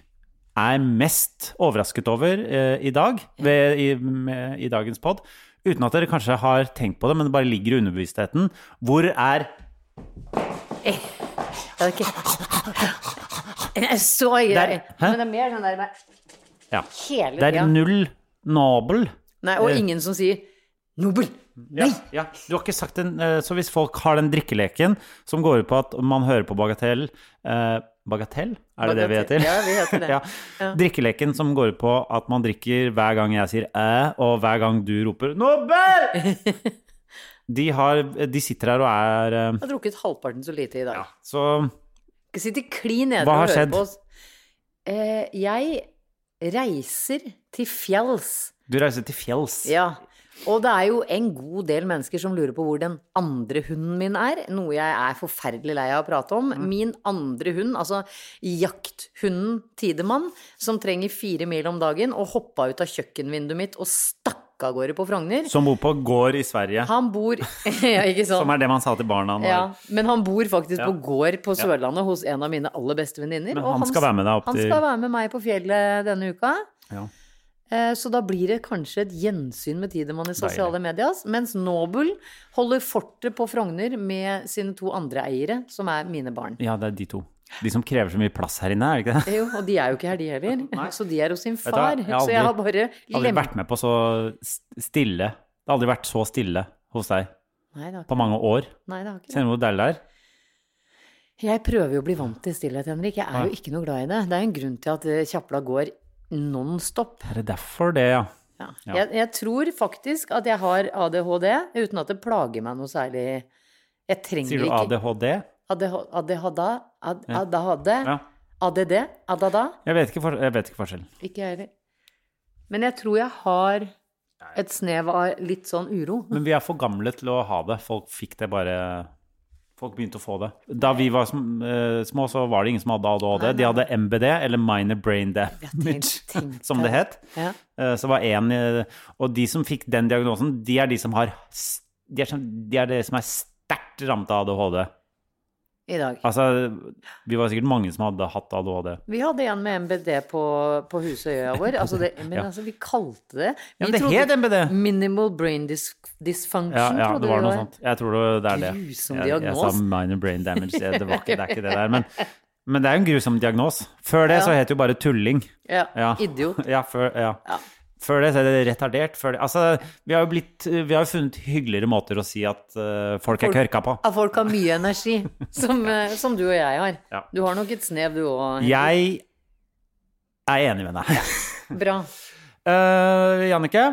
Speaker 3: er mest overrasket over eh, i dag, ved, i, med, i dagens pod, uten at dere kanskje har tenkt på det, men det bare ligger i underbevisstheten. Hvor er
Speaker 2: Ja, ok. Jeg er så grei.
Speaker 3: Der. Hæ?
Speaker 2: Men det er mer sånn der med
Speaker 3: Ja.
Speaker 2: hele
Speaker 3: Det er
Speaker 2: tida.
Speaker 3: null nabel.
Speaker 2: Nei, og ingen som sier 'Nobel'.
Speaker 3: Ja, ja. Du har ikke sagt den, eh, så hvis folk har den drikkeleken som går ut på at man hører på bagatell eh, Bagatell? Er det det vi heter?
Speaker 2: Bagatell. Ja, vi heter det.
Speaker 3: ja. Drikkeleken som går ut på at man drikker hver gang jeg sier æ, og hver gang du roper Nobel! De, har, de sitter her og er eh,
Speaker 2: Jeg har drukket halvparten så lite i dag.
Speaker 3: Så
Speaker 2: ikke sitte klin edru
Speaker 3: Hva
Speaker 2: og
Speaker 3: har
Speaker 2: høre
Speaker 3: skjedd?
Speaker 2: på oss. Eh, jeg reiser til fjells.
Speaker 3: Du reiser til fjells.
Speaker 2: Ja. Og det er jo en god del mennesker som lurer på hvor den andre hunden min er, noe jeg er forferdelig lei av å prate om. Min andre hund, altså jakthunden Tidemann, som trenger fire mil om dagen, og hoppa ut av kjøkkenvinduet mitt og stakk av gårde på Frogner.
Speaker 3: Som bor på gård i Sverige.
Speaker 2: Han bor Ja, ikke sant?
Speaker 3: Som er det man sa til barna når
Speaker 2: Ja, men han bor faktisk
Speaker 3: Ja.
Speaker 2: på gård på Sørlandet hos en av mine aller beste venninner.
Speaker 3: Men
Speaker 2: og
Speaker 3: han skal være med deg opp
Speaker 2: Han
Speaker 3: til-
Speaker 2: skal være med meg på fjellet denne uka.
Speaker 3: Ja.
Speaker 2: Eh, Så da blir det kanskje et gjensyn med Tidemann i sosiale medier. Mens Nobel holder fortet på Frogner med sine to andre eiere, som er mine barn.
Speaker 3: Ja, det er de to. De som krever så mye plass her inne, er det ikke det?
Speaker 2: Jo, og de er jo ikke her, de heller. Så de er hos sin
Speaker 3: du
Speaker 2: far.
Speaker 3: hva, jeg har
Speaker 2: så jeg har
Speaker 3: aldri-
Speaker 2: bare
Speaker 3: Jeg har aldri vært med på så s- stille. Det har aldri vært så stille hos deg
Speaker 2: Nei, det har ikke,
Speaker 3: på mange år.
Speaker 2: nei, det har ikke
Speaker 3: Kjenner du hvor deilig det er?
Speaker 2: Jeg prøver jo å bli vant til stillhet, Henrik. Jeg er jo ikke noe glad i det. Det er en grunn til at eh, Kjapla går non stop.
Speaker 3: Er det derfor det, ja?
Speaker 2: Ja.
Speaker 3: Ja.
Speaker 2: Jeg, jeg tror faktisk at jeg har ADHD, uten at det plager meg noe særlig. Jeg trenger
Speaker 3: Sier du
Speaker 2: ikke
Speaker 3: ADHD?
Speaker 2: ADH- ADHD, ad-
Speaker 3: Ja.
Speaker 2: ADHD,
Speaker 3: Ja.
Speaker 2: ADD, ADHD,
Speaker 3: Jeg vet ikke, for, jeg vet ikke forskjellen.
Speaker 2: ikke jeg heller. Men jeg tror jeg har et snev av litt sånn uro.
Speaker 3: Men vi er for gamle til å ha det. Folk fikk det bare Folk begynte å få det. Da vi var sm eh, små, så var det ingen som hadde ADHD. De hadde MBD, eller minor brain damage,
Speaker 2: tenk- tenk
Speaker 3: som det
Speaker 2: det.
Speaker 3: het.
Speaker 2: Ja.
Speaker 3: Eh, Så var en, eh, og de som fikk den diagnosen, de er de som har s- De er, som- de, er de som er sterkt rammet av ADHD.
Speaker 2: I dag.
Speaker 3: Altså, vi var sikkert mange som hadde hatt ADHD.
Speaker 2: Vi hadde en med MBD på, på Husøya vår. Altså det, men
Speaker 3: Ja.
Speaker 2: altså, vi kalte det
Speaker 3: Ja,
Speaker 2: vi
Speaker 3: men det
Speaker 2: trodde-
Speaker 3: het MBD.
Speaker 2: Minimal brain dis dysfunction,
Speaker 3: Ja, ja
Speaker 2: trodde
Speaker 3: det var
Speaker 2: vi
Speaker 3: noe sånt. Jeg tror det, det er det.
Speaker 2: Grusom
Speaker 3: Jeg- Jeg
Speaker 2: diagnos.
Speaker 3: sa minor brain damage, det, det, var ikke, det er ikke det der. Men, men det er jo en grusom diagnos. Før det så het det jo bare tulling.
Speaker 2: Ja,
Speaker 3: Ja.
Speaker 2: Idiot.
Speaker 3: Ja, før, ja. før det så er det retardert. Før det, altså, vi har jo blitt, vi har jo funnet hyggeligere måter å si at eh, folk er kørka på.
Speaker 2: At folk har mye energi, som, eh, som du og jeg har.
Speaker 3: Ja.
Speaker 2: Du har nok et snev, du òg.
Speaker 3: Jeg er enig med deg.
Speaker 2: Bra.
Speaker 3: Eh, Jannicke,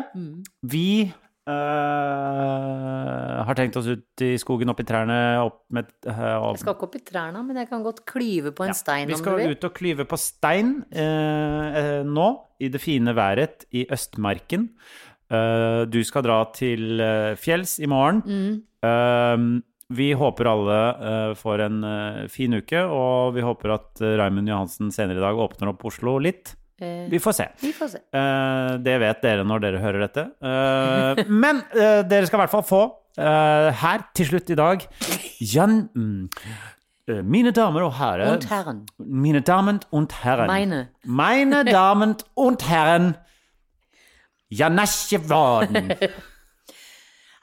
Speaker 3: vi eh, har tenkt oss ut i skogen, opp i trærne, opp med eh, opp-
Speaker 2: Jeg skal ikke opp i trærne, men jeg kan godt klyve på en
Speaker 3: Ja,
Speaker 2: stein
Speaker 3: Vi
Speaker 2: om du
Speaker 3: skal
Speaker 2: vil.
Speaker 3: ut og klyve på stein eh, eh, nå, i det fine været i Østmarken. Eh, du skal dra til eh, fjells i morgen.
Speaker 2: Mm.
Speaker 3: Eh, vi håper alle eh, får en eh, fin uke, og vi håper at eh, Raimund Johansen senere i dag åpner opp Oslo litt.
Speaker 2: Eh,
Speaker 3: Vi får se.
Speaker 2: vi får se.
Speaker 3: Eh, det vet dere når dere hører dette. Eh, men eh, dere skal i hvert fall få eh, her til slutt i dag Jan... Mm, eh, mine damer og herrer
Speaker 2: Und Herren.
Speaker 3: mine Damen und Herren.
Speaker 2: Meine.
Speaker 3: Meine Damen und Herren. Janasje Worden.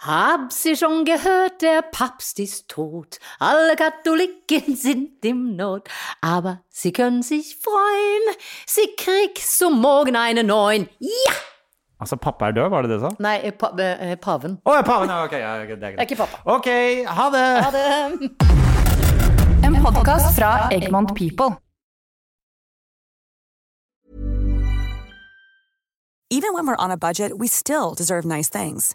Speaker 2: Hab sie schon gehört, der Papst ist tot. Alle Katholiken sind im Not. Aber sie können sich freuen. Sie kriegt zum Morgen einen neuen. Ja!
Speaker 3: Altså, pappa er død, var det det du sa?
Speaker 2: Nei, eh, pa eh, paven.
Speaker 3: Å, ja, paven. ja, Ok, ja, det er greit.
Speaker 2: Det er ikke pappa.
Speaker 3: Ok, ha det.
Speaker 7: En podkast fra Egmont People.
Speaker 1: Even when we're on a budget, we still deserve nice things.